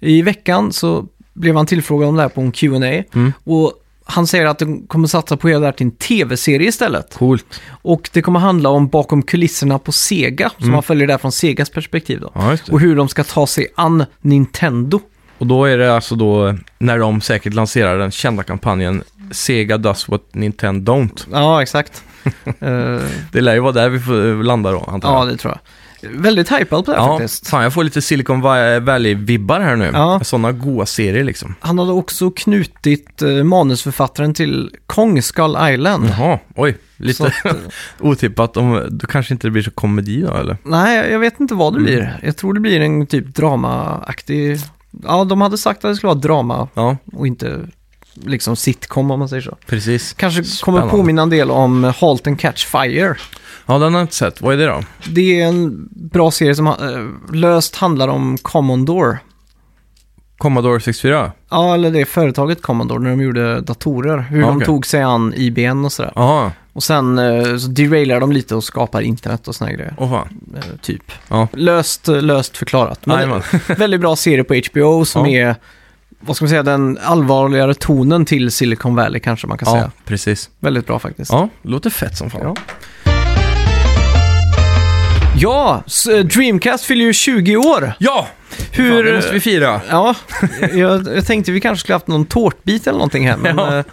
S1: I veckan så blev han tillfrågad om det här på en Q&A
S2: Mm.
S1: och han säger att de kommer satsa på hela det här till en tv-serie istället.
S2: Coolt.
S1: Och det kommer handla om bakom kulisserna på Sega, som man följer där från Segas perspektiv då.
S2: Mm. Ja, just det.
S1: Och hur de ska ta sig an Nintendo.
S2: Och då är det alltså då eh, när de säkert lanserar den kända kampanjen Sega does what Nintendo don't.
S1: Ja, exakt. Eh,
S2: Det lär ju vara där vi får eh, landa då, antar jag.
S1: ja, det tror jag. Väldigt hypad på det här faktiskt.
S2: fan jag får lite Silicon Va- Valley-vibbar här nu.
S1: Ja.
S2: Sådana goa serier liksom.
S1: Han hade också knutit eh, manusförfattaren till Kong Skull Island.
S2: Jaha, oj.
S1: Så
S2: Lite
S1: att, eh,
S2: otippat. Om, då kanske inte det blir så komedi då, eller?
S1: nej, jag vet inte vad det blir. Jag tror det blir en typ dramaaktig... Ja, de hade sagt att det skulle vara drama
S2: Ja,
S1: och inte liksom sitcom om man säger så.
S2: precis.
S1: Kanske kommer
S2: Spännande.
S1: påminna en del om eh, Halt and Catch Fire.
S2: Ja, den har jag inte sett. Vad är det då?
S1: Det är en bra serie som eh, löst handlar om Commodore.
S2: Commodore 64?
S1: Ja, eller det företaget Commodore när de gjorde datorer. Hur
S2: Ja,
S1: de
S2: okej.
S1: tog sig an IBM och sådär.
S2: Ja,
S1: Och sen eh, så derailar de lite och skapar internet och såna här grejer.
S2: åh fan.
S1: eh, Typ.
S2: Ja.
S1: Löst, eh, löst förklarat. Men
S2: Jajamän.
S1: väldigt bra serie på HBO som
S2: Ja.
S1: är, vad ska man säga, den allvarligare tonen till Silicon Valley kanske man kan
S2: Ja,
S1: säga.
S2: precis.
S1: Väldigt bra faktiskt.
S2: Ja, låter fett som fan.
S1: Ja. Ja, s- eh, Dreamcast fyller ju 20 år.
S2: Ja!
S1: Hur...
S2: Fan, det måste vi fira.
S1: Ja, jag, jag tänkte vi kanske skulle haft någon tårtbit eller någonting här, men
S2: Ja.
S1: eh,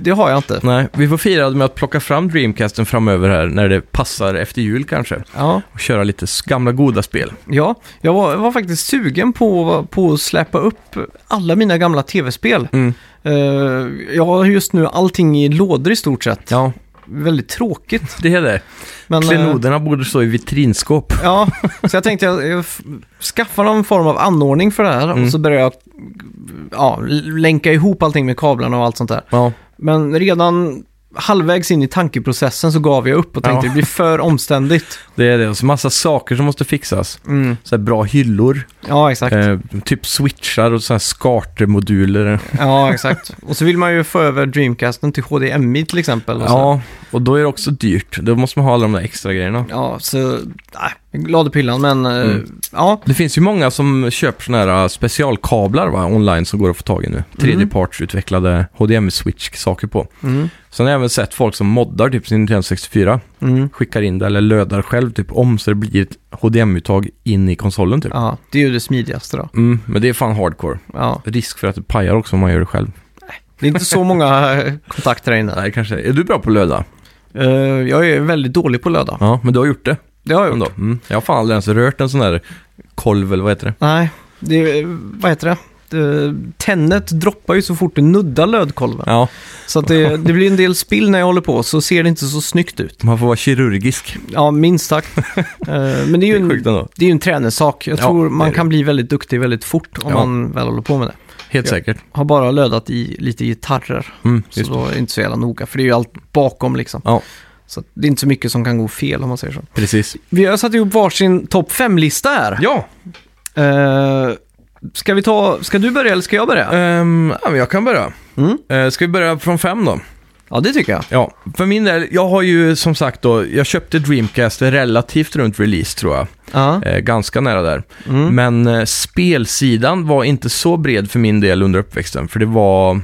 S1: det har jag inte.
S2: Nej, vi får fira med att plocka fram Dreamcasten framöver här när det passar efter jul kanske.
S1: Ja.
S2: Och köra lite gamla goda spel.
S1: Ja, jag var, var faktiskt sugen på, på att släppa upp alla mina gamla tv-spel.
S2: Mm.
S1: Eh, jag har just nu allting i lådor i stort sett.
S2: Ja,
S1: Väldigt tråkigt.
S2: det är det.
S1: Men, eh,
S2: Klenoderna borde stå i vitrinskåp.
S1: ja, så jag tänkte jag, jag f- skaffar någon form av anordning för det här och
S2: Mm.
S1: så börjar jag ja, länka ihop allting med kablarna och allt sånt där.
S2: Ja,
S1: Men redan halvvägs in i tankeprocessen så gav jag upp och tänkte
S2: Ja.
S1: det blir för omständigt.
S2: Det är det. Och så massa saker som måste fixas. Så här bra hyllor,
S1: Ja, exakt.
S2: Mm. eh, typ switchar och så här skartermoduler.
S1: Ja, exakt. Och så vill man ju få över Dreamcasten till HDMI till exempel. Och så.
S2: Ja, och då är det också dyrt. Då måste man ha alla de där extra grejerna.
S1: Ja, så... Nej, jag lade pillan, men... eh,
S2: Mm.
S1: Ja,
S2: Det finns ju många som köper såna här eh, specialkablar va, online som går att få tag i nu. Tredjepartsutvecklade HDMI-switch-saker på.
S1: mm,
S2: Sen har jag även sett folk som moddar typ sin Nintendo 64,
S1: mm,
S2: skickar in det eller lödar själv typ om så det blir ett HDMI-uttag in i konsolen typ.
S1: ja, det är ju det smidigaste då.
S2: Mm, men det är fan hardcore.
S1: Ja.
S2: Risk för att det pajar också om man gör det själv.
S1: Det är inte så många eh, kontakter här inne.
S2: Nej, kanske. Är du bra på att löda?
S1: Eh, jag är väldigt dålig på löda.
S2: Ja, men du har gjort det.
S1: Det har jag gjort.
S2: Ändå. Mm. Jag har fan aldrig ens rört en sån här kolv eller vad heter det?
S1: Nej, det är, vad heter det? Eh, Tennet droppar ju så fort det nuddar lödkolven.
S2: Ja,
S1: Så att det, det blir en del spill när jag håller på, så ser det inte så snyggt ut.
S2: man får vara kirurgisk.
S1: Ja, minst sagt. Eh, Men det är
S2: Det
S1: ju
S2: är
S1: en,
S2: sjukt ändå.
S1: det är ju en träningssak. Jag
S2: Ja,
S1: tror
S2: det är
S1: man
S2: det.
S1: kan bli väldigt duktig väldigt fort om
S2: Ja.
S1: man väl håller på med det.
S2: Helt
S1: Ja.
S2: säkert.
S1: Har bara lödat i lite gitarrer,
S2: Mm,
S1: så
S2: just.
S1: då är det inte så jävla noga, för det är ju allt bakom liksom.
S2: Ja.
S1: Så att det är inte så mycket som kan gå fel om man säger så.
S2: Precis.
S1: Vi har satt ihop varsin topp 5-lista här.
S2: Ja,
S1: Eh, ska vi ta, ska du börja eller ska jag börja?
S2: Ehm, ja, men jag kan börja.
S1: Mm.
S2: Eh, ska vi börja från fem då?
S1: Ja, det tycker jag.
S2: Ja, för min del, jag har ju som sagt då, jag köpte Dreamcast relativt runt release tror jag.
S1: Ja.
S2: Eh, ganska nära där.
S1: Mm.
S2: Men eh, spelsidan var inte så bred för min del under uppväxten, för det var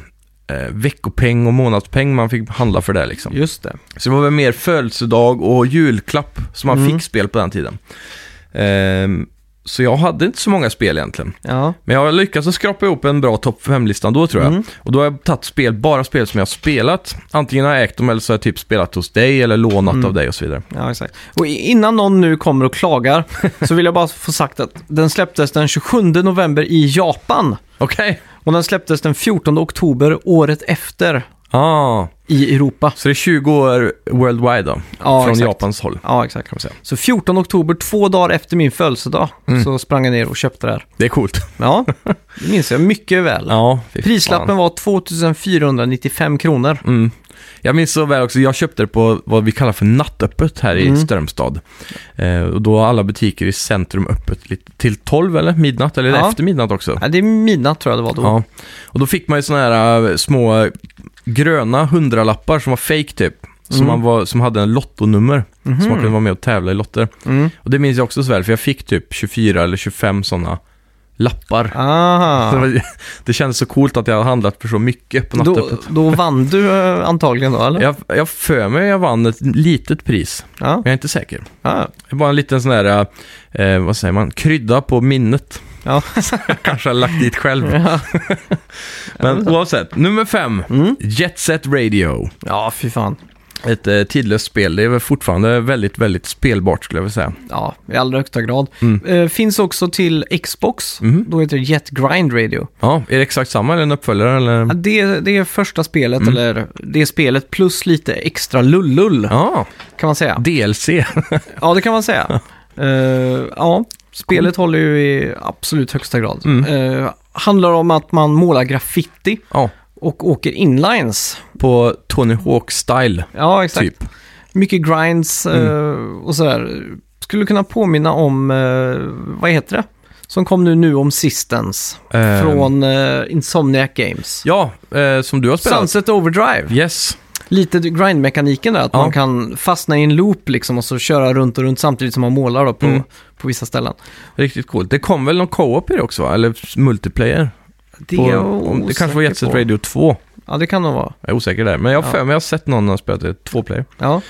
S2: eh, veckopeng och månadspeng man fick handla för det liksom.
S1: Just det.
S2: Så det var väl mer födelsedag och julklapp som man
S1: Mm.
S2: fick spel på den tiden. Ehm, så jag hade inte så många spel egentligen.
S1: Ja.
S2: Men jag har lyckats att skrapa ihop en bra topp 5-lista då tror jag.
S1: Mm.
S2: Och då har jag tagit spel, bara spel som jag har spelat. Antingen har jag ägt dem eller så har jag typ spelat hos dig eller lånat
S1: Mm.
S2: av dig och så vidare.
S1: ja, exakt. Och i- innan någon nu kommer och klagar så vill jag bara få sagt att den släpptes den 27 november i Japan.
S2: Okej.
S1: Och den släpptes den 14 oktober året efter
S2: Ah,
S1: i Europa.
S2: så det är 20 år worldwide då?
S1: Ja,
S2: från
S1: exakt.
S2: Japans håll.
S1: Ja, exakt.
S2: Kan man säga. Mm.
S1: Så 14 oktober, två dagar efter min födelsedag, så sprang jag ner och köpte det här.
S2: Det är coolt.
S1: Ja, det minns jag mycket väl.
S2: Ja, fy fan.
S1: Prislappen var 2495 kronor.
S2: Mm. Jag minns så väl också, jag köpte det på vad vi kallar för nattöppet här i
S1: Mm.
S2: Strömstad. Eh, och då har alla butiker i centrum öppet lite, till 12 eller midnatt, eller
S1: Ja.
S2: efter midnatt också.
S1: Ja, det är midnatt tror jag det var då.
S2: Ja. Och då fick man ju såna här äh, små äh, gröna hundralappar som var fake typ. Som,
S1: Mm. Mhm.
S2: man var, som hade en lottonummer. Som man kunde vara med och tävla i lotter.
S1: Mm.
S2: Och det minns jag också så väl, för jag fick typ 24 eller 25 sådana lappar. Så det,
S1: Aha.
S2: var, det kändes så coolt att jag hade handlat för så mycket på
S1: Då,
S2: nattöppet.
S1: då vann du eh, antagligen då, eller?
S2: Jag, jag för mig jag vann ett litet pris,
S1: Ja.
S2: men jag är inte säker.
S1: Ja.
S2: Det var en liten sån där, äh, vad säger man, krydda på minnet.
S1: Ja.
S2: Kanske har lagt dit själv.
S1: Ja. Mm.
S2: Men oavsett, nummer fem. Jet Set Radio.
S1: ja, fy fan.
S2: Ett eh, tidlöst spel. Det är väl fortfarande väldigt, väldigt spelbart skulle jag vilja säga.
S1: Ja, i allra högsta grad.
S2: Mm.
S1: Eh, finns också till Xbox.
S2: Mhm.
S1: Då heter det Jet Grind Radio.
S2: Ja, är det exakt samma eller en uppföljare
S1: Ja,
S2: eller?
S1: det, det är första spelet,
S2: Mm.
S1: eller det spelet plus lite extra lullull,
S2: Ja,
S1: kan man säga.
S2: DLC.
S1: Ja, det kan man säga. Eh, ja, spelet håller ju i absolut högsta grad.
S2: Mm.
S1: Eh, handlar om att man målar graffiti
S2: ja,
S1: och åker inlines.
S2: på Tony Hawk Style
S1: Ja, exakt.
S2: typ. Mm.
S1: Mycket grinds eh, och sådär. Skulle kunna påminna om, eh, vad heter det? Som kom nu, nu om Sistens.
S2: Eh,
S1: Från eh, Insomniac Games.
S2: Ja, eh, som du har spelat.
S1: Sunset Overdrive.
S2: Yes.
S1: Lite grindmekaniken där, att
S2: Ja.
S1: man kan fastna i en loop liksom och så köra runt och runt samtidigt som man målar då på,
S2: Mm.
S1: på vissa ställen.
S2: Riktigt coolt. Det kom väl någon co-op i det också va? Eller multiplayer?
S1: Det,
S2: På-
S1: är jag
S2: om, det kanske var
S1: osäker
S2: Jet Set
S1: på.
S2: Radio 2.
S1: Ja, det kan nog vara.
S2: Jag är osäker där. Men jag har
S1: Ja.
S2: för mig jag har sett någon ha spelat det. Två player.
S1: Ja.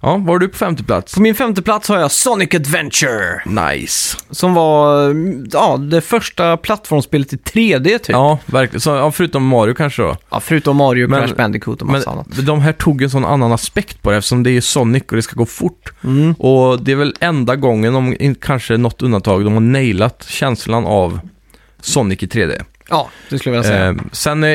S2: Ja, var du på femte plats?
S1: På min femte plats har jag Sonic Adventure.
S2: Nice.
S1: Som var mm, ja, det första plattformsspelet i 3D typ. Ja,
S2: Ja, verkligen. Så, ja, förutom Mario kanske då.
S1: förutom Mario,
S2: Men-
S1: Crash Bandicoot och massa annat.
S2: Men de här tog en sån annan aspekt på det eftersom det är Sonic och det ska gå fort.
S1: Mm.
S2: Och det är väl enda gången, om in- kanske något undantag, de har nailat känslan av Sonic i 3D.
S1: Ja, det skulle jag vilja säga.
S2: Eh, sen eh,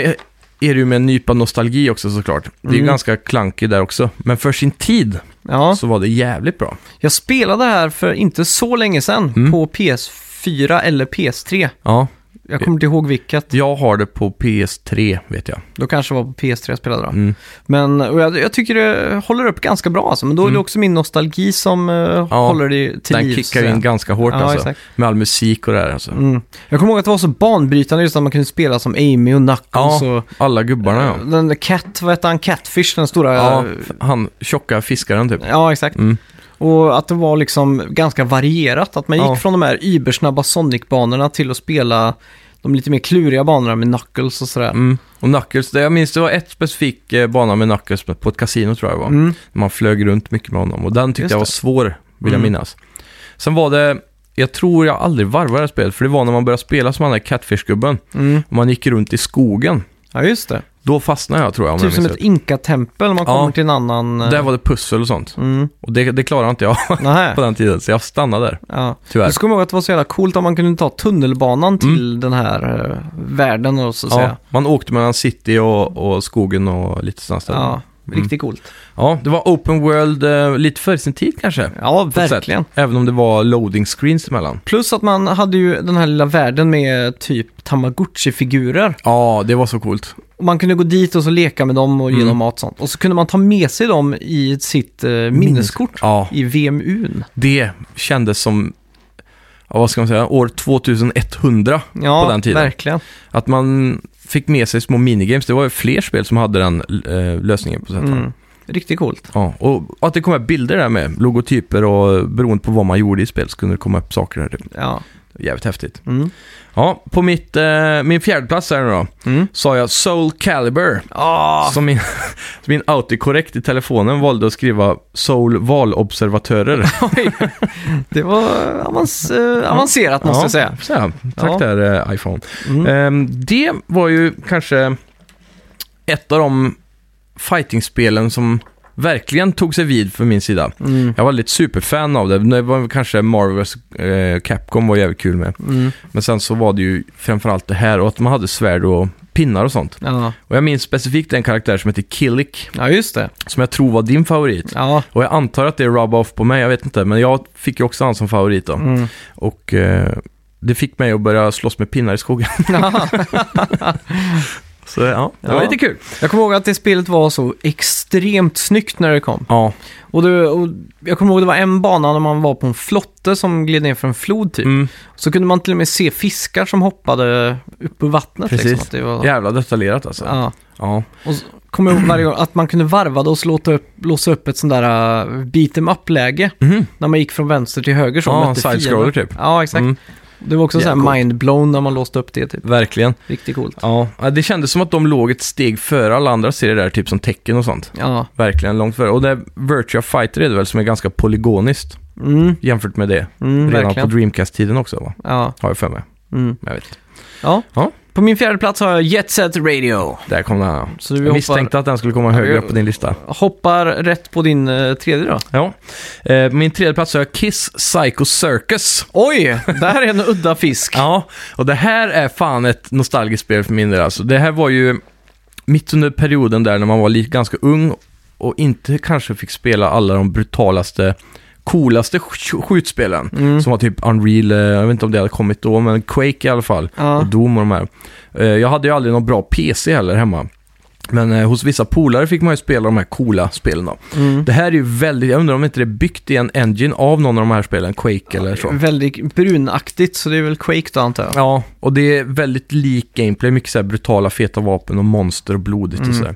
S2: är det ju med en nypa nostalgi också såklart. Det är ju
S1: Mm.
S2: ganska klankigt där också. Men för sin tid
S1: ja.
S2: så var det jävligt bra.
S1: Jag spelade här för inte så länge sedan på PS4 eller PS3.
S2: Ja,
S1: Jag kommer inte ihåg vilket.
S2: Jag har det på PS3 vet jag.
S1: Då kanske det var på PS3 jag spelade då.
S2: Mm.
S1: Men och jag, jag tycker det håller upp ganska bra alltså. Men då är det också min nostalgi som eh, håller det till
S2: Mm. Den
S1: livs.
S2: kickar ju in ganska hårt
S1: Ja,
S2: alltså.
S1: exakt.
S2: Med all musik och det där alltså.
S1: Mm. Jag kommer ihåg att det var så banbrytande just att man kunde spela som Amy och Knuckles
S2: Ja,
S1: och...
S2: alla gubbarna ja.
S1: Den där Cat, vad hette han? Catfish, den stora...
S2: Ja,
S1: Ja,
S2: han tjocka fiskaren typ.
S1: exakt.
S2: Mm.
S1: Och att det var liksom ganska varierat. Att man gick
S2: Ja.
S1: från de här ybersnabba Sonic-banorna till att spela de lite mer kluriga banorna med Knuckles och sådär.
S2: Mm. Och Knuckles, det- jag minns det var ett specifik eh, bana med Knuckles på ett kasino tror jag det var.
S1: Mm.
S2: Man flög runt mycket med honom och den tyckte
S1: Just
S2: jag var
S1: det.
S2: svår, vill jag
S1: Mm.
S2: minnas. Sen var det, jag tror jag aldrig varvade det här spelet, för det var när man började spela som han där Catfish-gubben.
S1: Mm.
S2: Och man gick runt i skogen.
S1: Ja, just det.
S2: Då fastnade jag tror jag om
S1: Typ
S2: jag
S1: som
S2: minns
S1: ett
S2: rätt.
S1: inkatempel, man
S2: Ja.
S1: kommer till en annan... eh,
S2: Där var det pussel och sånt.
S1: Mm.
S2: Och det, det klarade inte jag
S1: Nähä.
S2: på den tiden, så jag stannade där.
S1: Ja.
S2: Tyvärr.
S1: Du ska komma ihåg att det var så jävla coolt om man kunde ta tunnelbanan till den här eh, världen och så att
S2: Mm. Ja,
S1: säga.
S2: man åkte mellan city och, och skogen och lite sådana ställen. Ja.
S1: Ja, riktigt coolt.
S2: det var open world eh, lite före sin tid kanske.
S1: Ja,
S2: på ett sätt.
S1: verkligen.
S2: Även om det var loading screens emellan.
S1: Plus att man hade ju den här lilla världen med typ Tamagotchi-figurer.
S2: Ja, det var så coolt.
S1: Och man kunde gå dit och så leka med dem och ge
S2: Mm.
S1: dem mat och sånt. Och så kunde man ta med sig dem i sitt eh, minneskort
S2: Ja,
S1: i VMUn.
S2: det kändes som, ja, vad ska man säga, år 2100.
S1: Ja,
S2: På den tiden.
S1: verkligen.
S2: Att man fick med sig små minigames. Det var ju fler spel som hade den eh, lösningen på sätt och vis.
S1: Mm. Riktigt coolt.
S2: Ja, och att det kom upp bilder där med, logotyper och beroende på vad man gjorde i spel så kunde det komma upp saker där.
S1: Ja.
S2: Jävligt häftigt.
S1: Mm.
S2: Ja, på mitt, eh, min fjärdeplats här nu då,
S1: Mm.
S2: sa jag Soul Calibur.
S1: Ah,
S2: Som min, som min autocorrect i telefonen valde att skriva Soul Valobservatörer.
S1: oj. Det var avans- eh, avancerat måste jag säga.
S2: Så, ja, tack
S1: Ja.
S2: där eh, iPhone.
S1: Mm.
S2: Ehm, det var ju kanske ett av de fightingspelen som verkligen tog sig vid för min sida.
S1: Mm.
S2: Jag var lite superfan av det. Det var kanske Marvels eh, Capcom var jävligt kul med.
S1: Mm.
S2: Men sen så var det ju framförallt det här och att man hade svärd och pinnar och sånt.
S1: Ja.
S2: Och jag minns specifikt en karaktär som heter Killik,
S1: ja, just det.
S2: som jag tror var din favorit.
S1: Ja.
S2: Och jag antar att det är rub off på mig, jag vet inte. Men jag fick ju också han som favorit då.
S1: Mm.
S2: Och eh, det fick mig att börja slåss med pinnar i skogen. så ja, det var
S1: Ja.
S2: lite kul.
S1: Jag kommer ihåg att det spelet var så extremt snyggt när det kom.
S2: Ja,
S1: Och det, och jag kommer ihåg det var en bana när man var på en flotte som gled ner för en flod typ.
S2: mm,
S1: Så kunde man till och med se fiskar som hoppade upp ur vattnet.
S2: Precis.
S1: Liksom, att det var,
S2: jävla detaljerat alltså. Ja.
S1: ja. Kommer jag ihåg varje gång att man kunde varva det och så låta upp, låsa upp ett sånt där uh, beat em up-läge.
S2: Mhm.
S1: När man gick från vänster till höger så
S2: Ja,
S1: mötte
S2: side-scroller
S1: fienden.
S2: typ.
S1: Ja, exakt.
S2: Mm.
S1: Det var också
S2: Jävligt
S1: så
S2: coolt.
S1: här mind-blown när man låste upp det typ.
S2: Verkligen.
S1: Riktigt coolt.
S2: Ja, ja, det kändes som att de låg ett steg före alla andra serier där, typ som tecken och sånt.
S1: Ja.
S2: Verkligen långt före. Och det är Virtua Fighter är det väl som är ganska polygoniskt
S1: Mm,
S2: jämfört med det.
S1: mm,
S2: Redan på
S1: verkligen.
S2: Dreamcast-tiden också va?
S1: Ja.
S2: Har jag för mig.
S1: Mm.
S2: Men Jag vet. inte.
S1: ja.
S2: Ja.
S1: På min fjärde plats har jag Jet Set Radio.
S2: Där kom den. ja.
S1: Så vi
S2: Jag
S1: hoppar-
S2: misstänkte att den skulle komma högre
S1: vi-
S2: upp på din lista.
S1: Hoppar rätt på din eh, tredje då.
S2: Ja. Eh, på min tredje plats har jag Kiss Psycho Circus.
S1: Oj, det här är en udda fisk.
S2: Ja, och det här är fan ett nostalgiskt spel för min del alltså. Det här var ju mitt under perioden där när man var li- ganska ung och inte kanske fick spela alla de brutalaste, coolaste sk- skjutspelen.
S1: Mm.
S2: Som var typ Unreal, eh, jag vet inte om det hade kommit då, men Quake i alla fall.
S1: Ja.
S2: Och Doom och de här. Eh, Jag hade ju aldrig någon bra PC heller hemma. Men eh, hos vissa polare fick man ju spela de här coola spelen då.
S1: Mm.
S2: Det här är ju väldigt, jag undrar om inte det är byggt i en engine av någon av de här spelen, Quake eller så.
S1: Väldigt brunaktigt, så det är väl Quake då antar jag.
S2: Ja, och det är väldigt lik gameplay. Mycket så här brutala, feta vapen och monster och blodigt
S1: Mm.
S2: och sådär.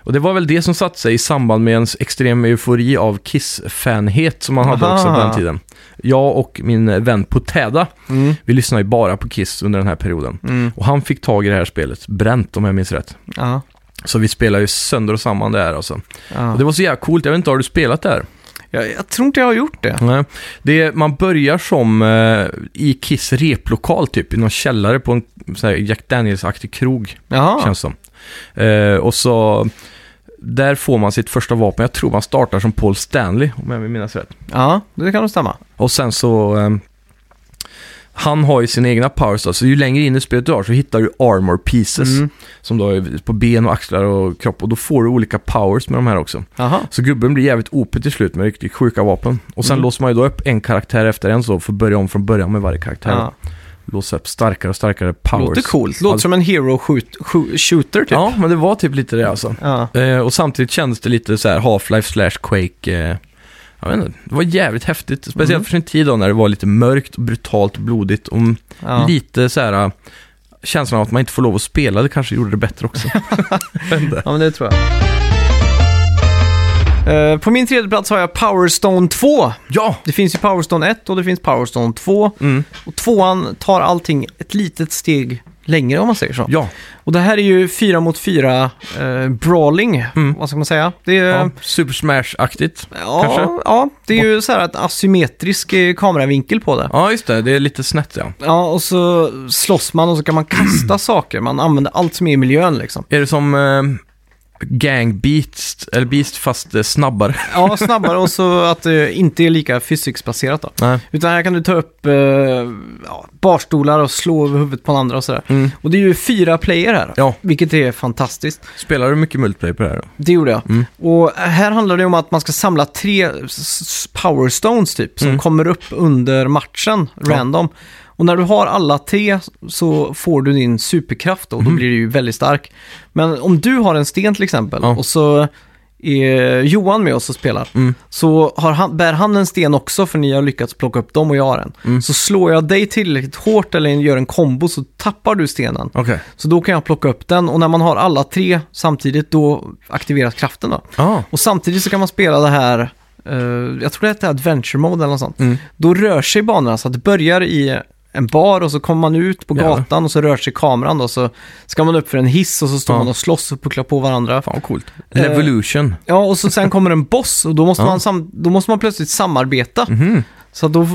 S2: Och det var väl det som satte sig i samband med ens extrem eufori av Kiss-fanhet som man hade
S1: Aha.
S2: också på den tiden. Jag och min vän Potäda,
S1: Mm.
S2: vi lyssnade ju bara på Kiss under den här perioden.
S1: Mm.
S2: Och han fick tag i det här spelet, bränt om jag minns rätt.
S1: Ja.
S2: Så vi spelade ju sönder och samman det här alltså.
S1: Ja.
S2: Och det var så jävla coolt, jag vet inte, har du spelat det här?
S1: Jag, jag tror inte jag har gjort det.
S2: Nej, det är, man börjar som eh, i Kiss replokal typ, i någon källare på en så här, Jack Daniels-aktig krog,
S1: Jaha.
S2: känns som. Eh, och så, där får man sitt första vapen. Jag tror man startar som Paul Stanley, om jag minns rätt.
S1: Ja, det kan nog stämma.
S2: Och sen så, eh, han har ju sina egna powers då, så ju längre in i spelet du har så hittar du armor pieces.
S1: Mm.
S2: Som då är på ben och axlar och kropp. Och då får du olika powers med de här också.
S1: Jaha.
S2: Så gubben blir jävligt OP till slut med riktigt sjuka vapen. Och sen
S1: Mm.
S2: låser man ju då upp en karaktär efter en så för att börja om från början med varje karaktär.
S1: Ja.
S2: låsa upp starkare och starkare powers.
S1: Låter coolt. Låter som en hero shoot, shoot, shooter typ.
S2: Ja, men det var typ lite det alltså.
S1: Ja.
S2: Eh, och samtidigt kändes det lite så här Half-Life slash Quake. Eh, jag vet inte, det var jävligt häftigt. Speciellt
S1: Mm.
S2: för sin tid då när det var lite mörkt, brutalt, blodigt och
S1: Ja.
S2: lite så här eh, känslan av att man inte får lov att spela. Det kanske gjorde det bättre också. Jag vet inte.
S1: ja, men det tror jag. Eh, på min tredje plats har jag Power Stone 2.
S2: ja!
S1: Det finns ju Power Stone 1 och det finns Power Stone 2.
S2: Mm.
S1: Och tvåan tar allting ett litet steg längre om man säger så.
S2: Ja,
S1: Och det här är ju fyra mot fyra eh, brawling,
S2: Mm.
S1: vad ska man säga? Det är,
S2: ja. Super Smash-aktigt.
S1: ja,
S2: kanske?
S1: ja, det är ju så här att asymmetrisk eh, kameravinkel på det.
S2: Ja, just det. Det är lite snett ja.
S1: Ja, och så slåss man och så kan man kasta saker. Man använder allt som är i miljön liksom.
S2: Är det som eh, Gang Beast, eller Beast fast eh, snabbare?
S1: Ja, snabbare och så att det inte är lika fysiksbaserat då.
S2: Nej.
S1: Utan här kan du ta upp eh, ja, barstolar och slå över huvudet på den andra och sådär.
S2: Mm.
S1: Och det är ju fyra player här,
S2: Ja.
S1: vilket är fantastiskt.
S2: Spelar du mycket multiplayer på det här då?
S1: Det gjorde jag.
S2: Mm.
S1: Och här handlar det om att man ska samla tre s- s- powerstones typ, som
S2: Mm.
S1: kommer upp under matchen, random. Och när du har alla tre så får du din superkraft då, och då
S2: Mm.
S1: blir du ju väldigt stark. Men om du har en sten till exempel
S2: Ja.
S1: och så är Johan med oss och spelar,
S2: Mm.
S1: så har han, bär han en sten också för ni har lyckats plocka upp dem och jag har en.
S2: Mm.
S1: Så slår jag dig tillräckligt hårt eller gör en kombo så tappar du stenen.
S2: Okej.
S1: Så då kan jag plocka upp den och när man har alla tre samtidigt då aktiveras kraften då.
S2: Ah.
S1: Och samtidigt så kan man spela det här, eh, jag tror det heter Adventure Mode eller något sånt.
S2: Mm.
S1: Då rör sig banorna så att det börjar i en bar och så kommer man ut på
S2: Jävlar.
S1: gatan och så rör sig kameran då. Så ska man upp för en hiss och så står
S2: Ja.
S1: man och slåss och pucklar på varandra.
S2: Fan vad coolt. Revolution.
S1: Ja, och så sen kommer en boss och då måste,
S2: Ja. Mhm.
S1: man, sam- då måste man plötsligt samarbeta. Så att då f-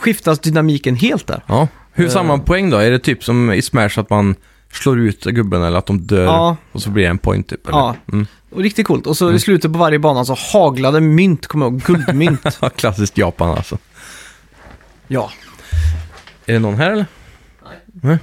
S1: skiftas dynamiken helt där.
S2: Ja. Eh. Hur samlar man poäng då? Är det typ som i Smash att man slår ut gubben eller att de dör
S1: Ja.
S2: och så blir det en poäng typ? Eller?
S1: Ja.
S2: Mm.
S1: Och riktigt coolt. Och så i slutet på varje bana så haglade mynt, kommer jag ihåg, guldmynt.
S2: Ja, Klassiskt Japan alltså.
S1: ja.
S2: Är det någon här eller? Nej.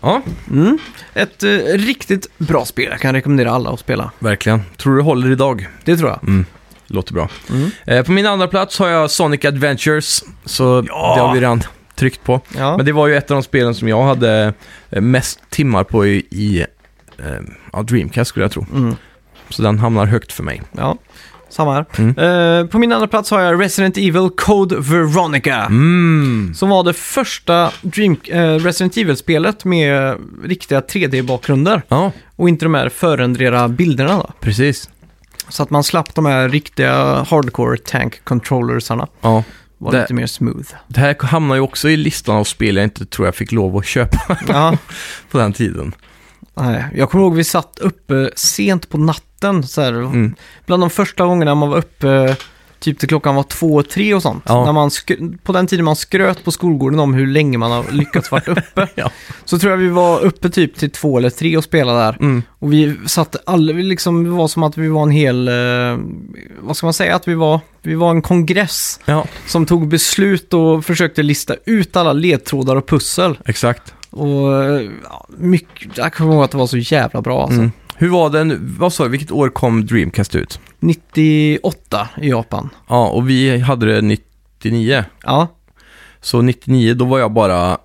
S2: Ja,
S1: Mm. Ett eh, riktigt bra spel. Jag kan rekommendera alla att spela.
S2: verkligen. Tror du håller idag?
S1: Det tror jag.
S2: Låter bra.
S1: Mm.
S2: Eh, på min andra plats har jag Sonic Adventures. Så det har vi redan tryckt på.
S1: Ja.
S2: Men det var ju ett av de spelen som jag hade eh, mest timmar på i, i eh, ja, Dreamcast skulle jag tro.
S1: Mm.
S2: Så den hamnar högt för mig.
S1: ja. Samma här.
S2: Mm.
S1: Eh, på min andra plats har jag Resident Evil Code Veronica.
S2: Mm.
S1: Som var det första Dream, eh, Resident Evil-spelet med riktiga 3D-bakgrunder.
S2: Ja,
S1: Och inte de här förändrade bilderna då.
S2: precis.
S1: Så att man slapp de här riktiga hardcore tank controllersarna.
S2: Ja.
S1: Var
S2: Det-
S1: lite mer smooth.
S2: Det här hamnar ju också i listan av spel jag inte tror jag fick lov att köpa
S1: Ja.
S2: på den tiden.
S1: Nej, jag kommer ihåg vi satt uppe sent på natten. Så här,
S2: Mm.
S1: Bland de första gångerna man var uppe typ till klockan var två och tre och sånt.
S2: Ja.
S1: När man sk- på den tiden man skröt på skolgården om hur länge man har lyckats vara uppe.
S2: Ja.
S1: Så tror jag vi var uppe typ till två eller tre och spelade där.
S2: Mm.
S1: Och vi satt alla, vi liksom, det var som att vi var en hel, eh, vad ska man säga, att vi var, vi var en kongress
S2: Ja,
S1: som tog beslut och försökte lista ut alla ledtrådar och pussel.
S2: exakt.
S1: Och eh, ja, mycket, jag kommer ihåg att det var så jävla bra alltså.
S2: Mm. Hur var den, vad sa du, vilket år kom Dreamcast ut?
S1: 98 i Japan.
S2: Ja, och vi hade det 99.
S1: Ja.
S2: Så 99, då var jag bara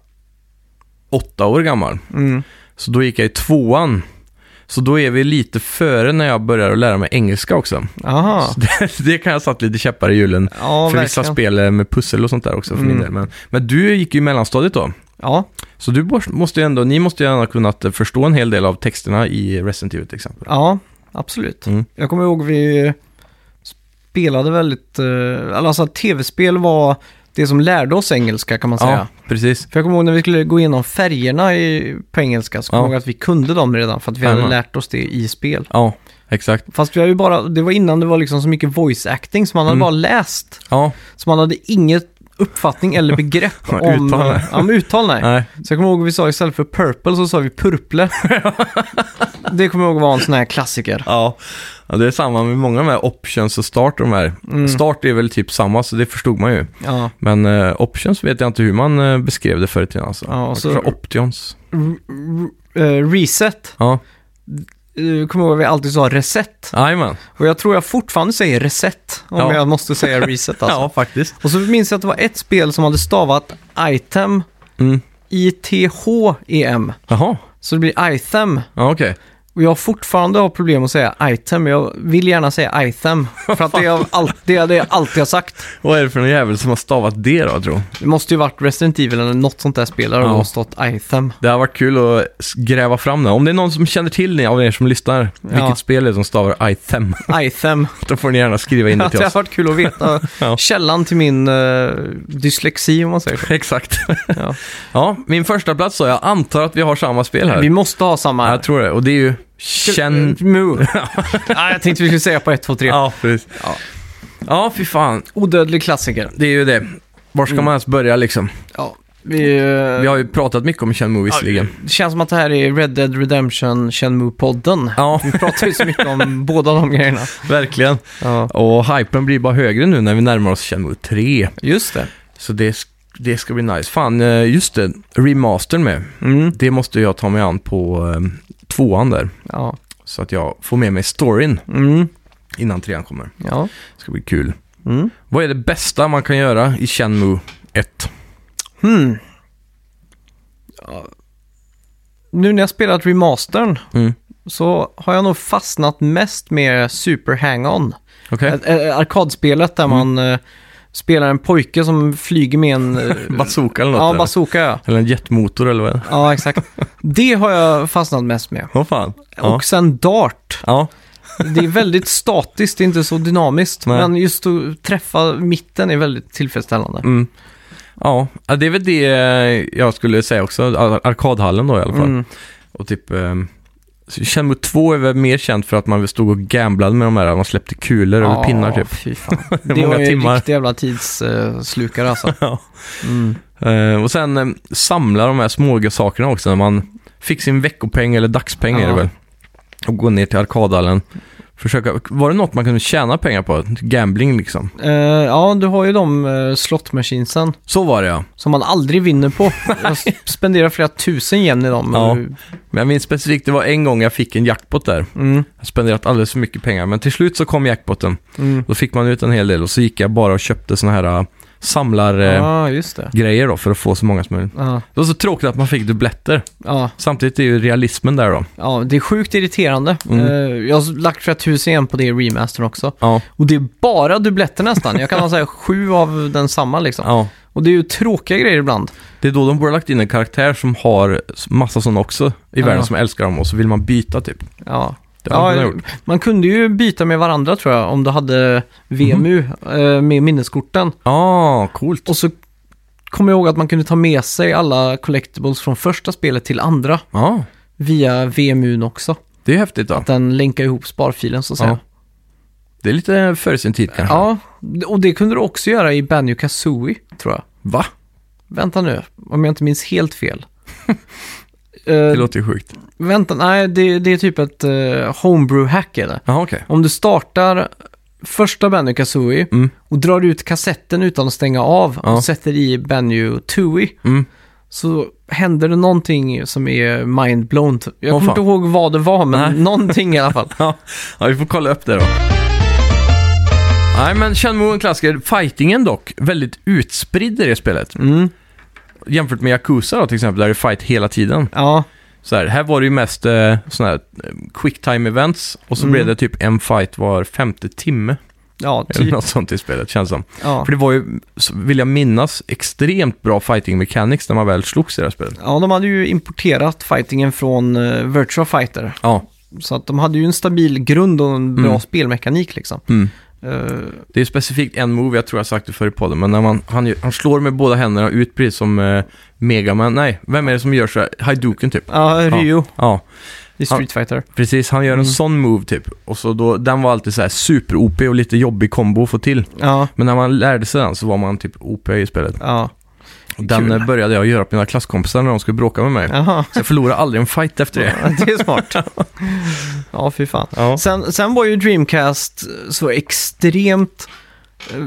S2: åtta år gammal.
S1: Mm.
S2: Så då gick jag i tvåan. Så då är vi lite före när jag började att lära mig engelska också.
S1: Aha.
S2: Så det, det kan jag satt lite käppar i hjulen.
S1: Ja,
S2: för vissa
S1: verkligen.
S2: spel med pussel och sånt där också för min
S1: Mm.
S2: del. Men, men du gick ju i mellanstadiet då.
S1: Ja,
S2: Så du bors- måste ju ändå, ni måste ju ändå ha kunnat eh, förstå en hel del av texterna i Resident Evil till exempel.
S1: ja, absolut.
S2: Mm.
S1: Jag kommer ihåg vi spelade väldigt, eh, alltså att tv-spel var det som lärde oss engelska kan man säga.
S2: Ja, precis.
S1: För jag kommer ihåg när vi skulle gå igenom färgerna i, på engelska så kommer
S2: Ja.
S1: jag ihåg att vi kunde dem redan för att vi hade
S2: Jajamän.
S1: lärt oss det i spel.
S2: Ja, exakt.
S1: Fast vi hade ju bara, det var innan det var liksom så mycket voice acting så man hade
S2: Mm.
S1: bara läst.
S2: Ja,
S1: Så man hade inget uppfattning eller begrepp om...
S2: Uttal, nej.
S1: Ja, men uttal nej.
S2: nej.
S1: Så jag kommer ihåg vi sa istället för purple så sa vi purple. det kommer jag ihåg var en sån här klassiker.
S2: Ja. ja, det är samma med många av de här options och start och de här. Start är väl typ samma, så det förstod man ju.
S1: Ja.
S2: Men eh, options vet jag inte hur man eh, beskrev det förr i tiden alltså.
S1: Ja, och
S2: Man
S1: så-
S2: kanske sa options.
S1: R- r- eh, reset.
S2: Ja,
S1: Eh, kommer ihåg att vi alltid sa reset.
S2: jajamän.
S1: Och jag tror jag fortfarande säger reset. Om
S2: Ja.
S1: jag måste säga reset alltså.
S2: Ja, faktiskt.
S1: Och så minns jag att det var ett spel som hade stavat item
S2: Mm.
S1: I-T-H-E-M.
S2: Jaha,
S1: E Så det blir Itham.
S2: ja okej.
S1: Och jag har fortfarande har problem att säga item. Jag vill gärna säga item. För att det är alltid, det är allt jag har sagt.
S2: Vad är det för någon jävel som har stavat det då, tror
S1: Det måste ju varit Resident Evil eller något sånt där spel där det
S2: Ja.
S1: har stått item.
S2: Det har varit kul att s- gräva fram det. Om det är någon som känner till det av er som lyssnar, vilket spel är det som stavar item?
S1: Item.
S2: Då får ni gärna skriva in det
S1: Att
S2: till
S1: det har
S2: oss.
S1: varit kul att veta
S2: Ja.
S1: källan till min eh, dyslexi om man säger så.
S2: Exakt.
S1: Ja.
S2: Ja, min första plats då. Jag antar att vi har samma spel här.
S1: Vi måste ha samma... Eh,
S2: Jag tror det. Och det är ju Chen...
S1: Mu. ja, jag tänkte vi skulle säga på 1, 2, 3.
S2: Ja, precis.
S1: Ja.
S2: Ja, fy fan.
S1: Odödlig klassiker.
S2: Det är ju det. Var ska man ens börja liksom?
S1: Ja, vi, eh,
S2: Vi har ju pratat mycket om Chen Movie visserligen.
S1: Det känns som att det här är Red Dead Redemption Shenmue-podden.
S2: Ja,
S1: Vi pratar ju så mycket om båda de grejerna.
S2: verkligen.
S1: Ja,
S2: Och hypen blir bara högre nu när vi närmar oss Chen Movie 3.
S1: just det.
S2: Så det, sk- det ska bli nice. Fan, eh, just det. Remastern med.
S1: Mm.
S2: Det måste jag ta mig an på eh, tvåan där.
S1: Ja.
S2: Så att jag får med mig storyn
S1: Mm.
S2: innan trean kommer.
S1: Ja.
S2: Det ska bli kul.
S1: Mm.
S2: Vad är det bästa man kan göra i Shenmue 1?
S1: Hmm. Ja. Nu när jag spelat remastern
S2: Mm.
S1: så har jag nog fastnat mest med Super Hang-On.
S2: Okej.
S1: Ä- ä- Arkadspelet
S2: Mm.
S1: där man eh, spelar en pojke som flyger med en... eh,
S2: Bazooka eller något?
S1: ja,
S2: där.
S1: bazooka ja.
S2: Eller en jetmotor eller vad är det?
S1: Ja, exakt. Det har jag fastnat mest med.
S2: Åh fan. Ja.
S1: Och sen Dart.
S2: ja.
S1: Det är väldigt statiskt, det är inte så dynamiskt.
S2: Nej.
S1: Men just att träffa mitten är väldigt tillfredsställande.
S2: Mm. Ja, ja, det är väl det eh, jag skulle säga också. Ar- Arkadhallen då i alla fall.
S1: Mm.
S2: Och typ... Eh, så Shenmue 2 är väl mer känt för att man stod och gamblade med de här. Man släppte kulor över pinnar typ.
S1: Fy fan. Det
S2: Många
S1: var ju
S2: timmar.
S1: en riktig jävla tidsslukare alltså.
S2: Ja.
S1: Mm.
S2: Eh, och sen eh, samla de här små sakerna också. När man fick sin veckopeng eller dagspeng är det
S1: Ja.
S2: väl. Och gå ner till arkadhallen. Försöka, var det något man kunde tjäna pengar på? Gambling liksom.
S1: Eh, ja, du har ju de uh, slottmaskinsen
S2: Så var det ja.
S1: som man aldrig vinner på. Jag s- spenderar flera tusen yen i dem.
S2: Ja. Men jag minns specifikt, det var en gång jag fick en jackpot där.
S1: Mm.
S2: Jag har spenderat alldeles för mycket pengar. Men till slut så kom jackpoten.
S1: Mm.
S2: Då fick man ut en hel del och så gick jag bara och köpte såna här eh,
S1: Ja,
S2: samlargrejer
S1: just det.
S2: då för att få så många som möjligt.
S1: Ja,
S2: Det var så tråkigt att man fick dubbletter.
S1: ja.
S2: Samtidigt är ju realismen där då.
S1: Ja, det är sjukt irriterande.
S2: Mm.
S1: Eh, jag har lagt flera tusen igen på det i remastern också.
S2: Ja,
S1: Och det är bara dubbletter nästan. Jag kan ha så här sju av den samma liksom.
S2: ja.
S1: Och det är ju tråkiga grejer ibland.
S2: Det är då de borde ha lagt in en karaktär som har massa sådana också i
S1: Ja.
S2: världen som älskar dem och så vill man byta typ.
S1: Ja.
S2: Det hade man
S1: ja,
S2: gjort.
S1: man kunde ju byta med varandra tror jag, om du hade VMU
S2: Mhm.
S1: eh, med minneskorten.
S2: Ja, ah, coolt.
S1: Och så kommer jag ihåg att man kunde ta med sig alla collectibles från första spelet till andra
S2: Ja,
S1: via VMUn också.
S2: det är häftigt då.
S1: Den länkar ihop sparfilen så att
S2: Ja.
S1: säga.
S2: Det är lite före sin tid kanske.
S1: Ja, och det kunde du också göra i Banjo Kazooie tror jag.
S2: Va?
S1: Vänta nu, om jag inte minns helt fel. Eh,
S2: Det låter ju sjukt.
S1: Vänta, nej, det, det är typ ett eh, homebrew-hack är det.
S2: Jaha, okej.
S1: Om du startar första Banjo Kazooie
S2: Mm.
S1: och drar ut kassetten utan att stänga av
S2: Ja.
S1: och sätter i Banjo Tooie
S2: Mm.
S1: så händer det någonting som är mindblown. Jag
S2: Åh,
S1: kommer
S2: fan.
S1: inte ihåg vad det var, men
S2: Nej.
S1: någonting i alla fall.
S2: Ja. ja, vi får kolla upp det då. Nej, men Shenmue är en klassiker. Fightingen dock, väldigt utspridd i det spelet.
S1: Mm.
S2: Jämfört med Yakuza då till exempel, där det är fight hela tiden.
S1: Ja,
S2: Så här, här var det ju mest eh, sådana här eh, quick time events och så
S1: Mm.
S2: blev det typ en fight var femte timme.
S1: ja,
S2: Eller
S1: typ.
S2: något sånt i spelet, känns som.
S1: Ja.
S2: För det var ju, så vill jag minnas, extremt bra fighting mechanics när man väl slogs i det här spelet.
S1: ja, de hade ju importerat fightingen från eh, Virtua Fighter.
S2: Ja,
S1: Så att de hade ju en stabil grund och en bra
S2: Mm.
S1: spelmekanik liksom.
S2: Mm.
S1: Eh,
S2: det är specifikt en move, jag tror jag sagt det förr i podden, men när man, han, gör- han slår med båda händerna ut precis som eh, Megaman, nej, vem är det som gör så här, Hadouken typ?
S1: Ja, Ryu
S2: Ja,
S1: i Street Fighter.
S2: precis, han gör en sån move typ, och så då, den var alltid så här super-OP och lite jobbig kombo att få till.
S1: Ja,
S2: Men när man lärde sig den så var man typ OP i spelet.
S1: ja.
S2: Och den
S1: Kul.
S2: eh, började jag göra på mina klasskompisar när de skulle bråka med mig.
S1: Jaha.
S2: Så jag förlorade aldrig en fight efter det.
S1: Ja, det är smart. ja, fy fan.
S2: Ja.
S1: Sen, sen var ju Dreamcast så extremt eh,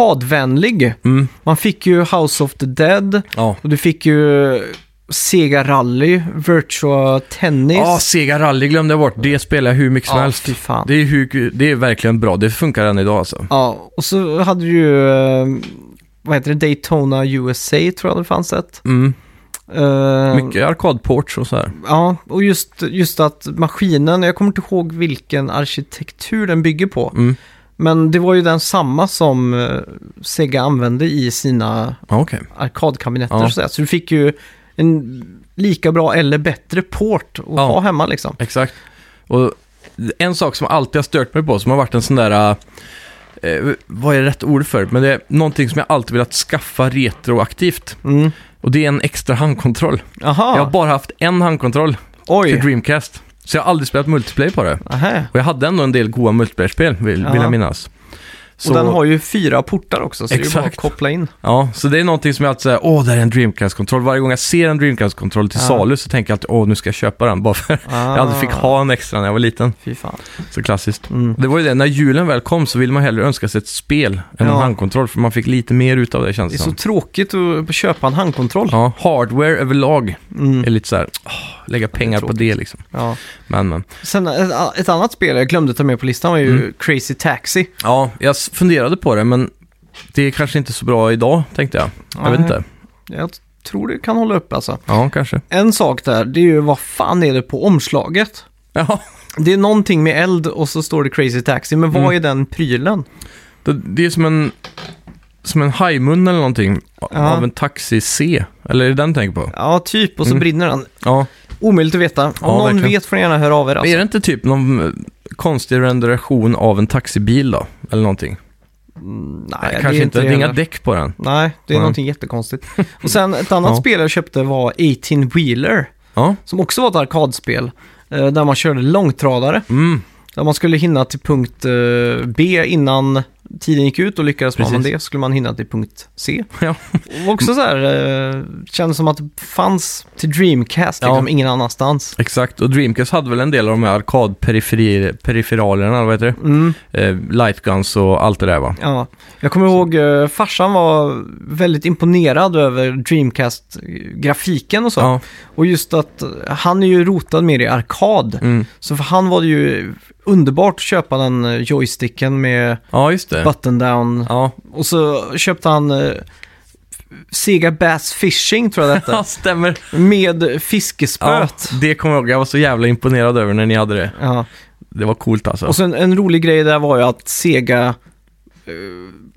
S1: arkadvänlig.
S2: Mm.
S1: Man fick ju House of the Dead
S2: Ja.
S1: och du fick ju Sega Rally, Virtua Tennis.
S2: Ja, Sega Rally glömde jag bort. Det spelar jag hur mycket som
S1: Ja,
S2: helst.
S1: fy fan.
S2: Det är, hur, det är verkligen bra. Det funkar än idag alltså.
S1: Ja, och så hade du ju eh, vad heter det, Daytona USA tror jag det fanns ett.
S2: Mm.
S1: Eh,
S2: Mycket arkadports och så här.
S1: Ja, och just, just att maskinen, jag kommer inte ihåg vilken arkitektur den bygger på.
S2: Mm.
S1: Men det var ju den samma som eh, Sega använde i sina
S2: Ja, okej.
S1: arkadkabinetter.
S2: Ja.
S1: och sådär. Så du fick ju en lika bra eller bättre port att
S2: Ja.
S1: ha hemma liksom.
S2: Exakt. Och en sak som alltid har stört mig på, som har varit en sån där... Eh, vad är rätt ord för? Men det är någonting som jag alltid velat skaffa retroaktivt.
S1: Mm.
S2: Och det är en extra handkontroll.
S1: Aha,
S2: Jag har bara haft en handkontroll till
S1: oj.
S2: Dreamcast. Så jag har aldrig spelat multiplayer på det.
S1: Aha.
S2: Och jag hade ändå en del goda multiplayer-spel, vill,
S1: Ja.
S2: vill jag minnas.
S1: Och
S2: Så,
S1: den har ju fyra portar också, så det är ju bara att
S2: Exakt.
S1: koppla in.
S2: ja, så det är någonting som jag alltid säger, åh, det här är en Dreamcast-kontroll. Varje gång jag ser en Dreamcast-kontroll till
S1: Ja.
S2: salu så tänker jag alltid, åh, nu ska jag köpa den. Bara för jag aldrig fick
S1: Ah,
S2: ha en extra när jag var liten.
S1: Fy fan.
S2: Så klassiskt.
S1: Mm.
S2: Det var ju det, när julen väl kom så ville man hellre önska sig ett spel än en
S1: Ja.
S2: handkontroll, för man fick lite mer ut av det känns
S1: Det är
S2: det
S1: så
S2: som.
S1: tråkigt att köpa en handkontroll.
S2: Ja, hardware överlag
S1: Mm.
S2: är lite så här, åh, lägga pengar på det liksom.
S1: Ja.
S2: Men, men.
S1: Sen eh, ett, ett annat spel jag glömde ta med på listan var ju
S2: Mm.
S1: Crazy Taxi.
S2: Ja, jag s- funderade på det, men det är kanske inte så bra idag, tänkte jag. Jag
S1: Nej.
S2: vet inte.
S1: Jag t- tror det kan hålla upp alltså.
S2: Ja, kanske.
S1: En sak där, det är ju vad fan är det på omslaget?
S2: Ja,
S1: Det är någonting med eld och så står det Crazy Taxi, men vad
S2: Mm.
S1: är den prylen?
S2: det, det är som en, som en hajmun eller någonting
S1: Ja.
S2: av en taxi C. Eller är det den du tänker på?
S1: Ja, typ, och så
S2: Mm.
S1: brinner den.
S2: Ja.
S1: Omöjligt att veta. Om
S2: Ja,
S1: någon
S2: verkligen.
S1: vet får ni gärna höra av er
S2: Är
S1: alltså.
S2: det inte typ någon eh, konstig renderation av en taxibil då? Eller någonting?
S1: Mm, Nej,
S2: Nej,
S1: det
S2: kanske
S1: är
S2: inte. Det är
S1: heller.
S2: inga däck på den.
S1: Nej, det är
S2: Nej.
S1: någonting jättekonstigt. Och sen ett annat
S2: Ja.
S1: spel jag köpte var 18 Wheeler,
S2: Ja.
S1: som också var ett arkadspel. eh, Där man körde långtradare.
S2: Mm.
S1: Där man skulle hinna till punkt eh, B innan tiden gick ut och lyckades man med
S2: Precis.
S1: det skulle man hinna till punkt C.
S2: Ja.
S1: Och också så här, eh, kändes som att det fanns till Dreamcast,
S2: Ja.
S1: liksom ingen annanstans.
S2: Exakt, och Dreamcast hade väl en del av de här arkadperiferalerna, vad heter
S1: Mm,
S2: det? Eh, lightguns och allt det där va?
S1: ja. Jag kommer ihåg, eh, farsan var väldigt imponerad över Dreamcast-grafiken och så.
S2: Ja,
S1: Och just att eh, han är ju rotad mer i arkad.
S2: mm.
S1: Så för han var det ju underbart att köpa den eh, joysticken med
S2: ja just det.
S1: button down
S2: Ja,
S1: Och så köpte han eh, Sega Bass Fishing tror jag det
S2: ja
S1: hette.
S2: stämmer.
S1: med
S2: Ja,
S1: fiskespöt.
S2: det kommer jag ihåg, jag var så jävla imponerad över när ni hade det.
S1: Ja.
S2: Det var coolt alltså.
S1: Och sen en rolig grej där var ju att Sega eh,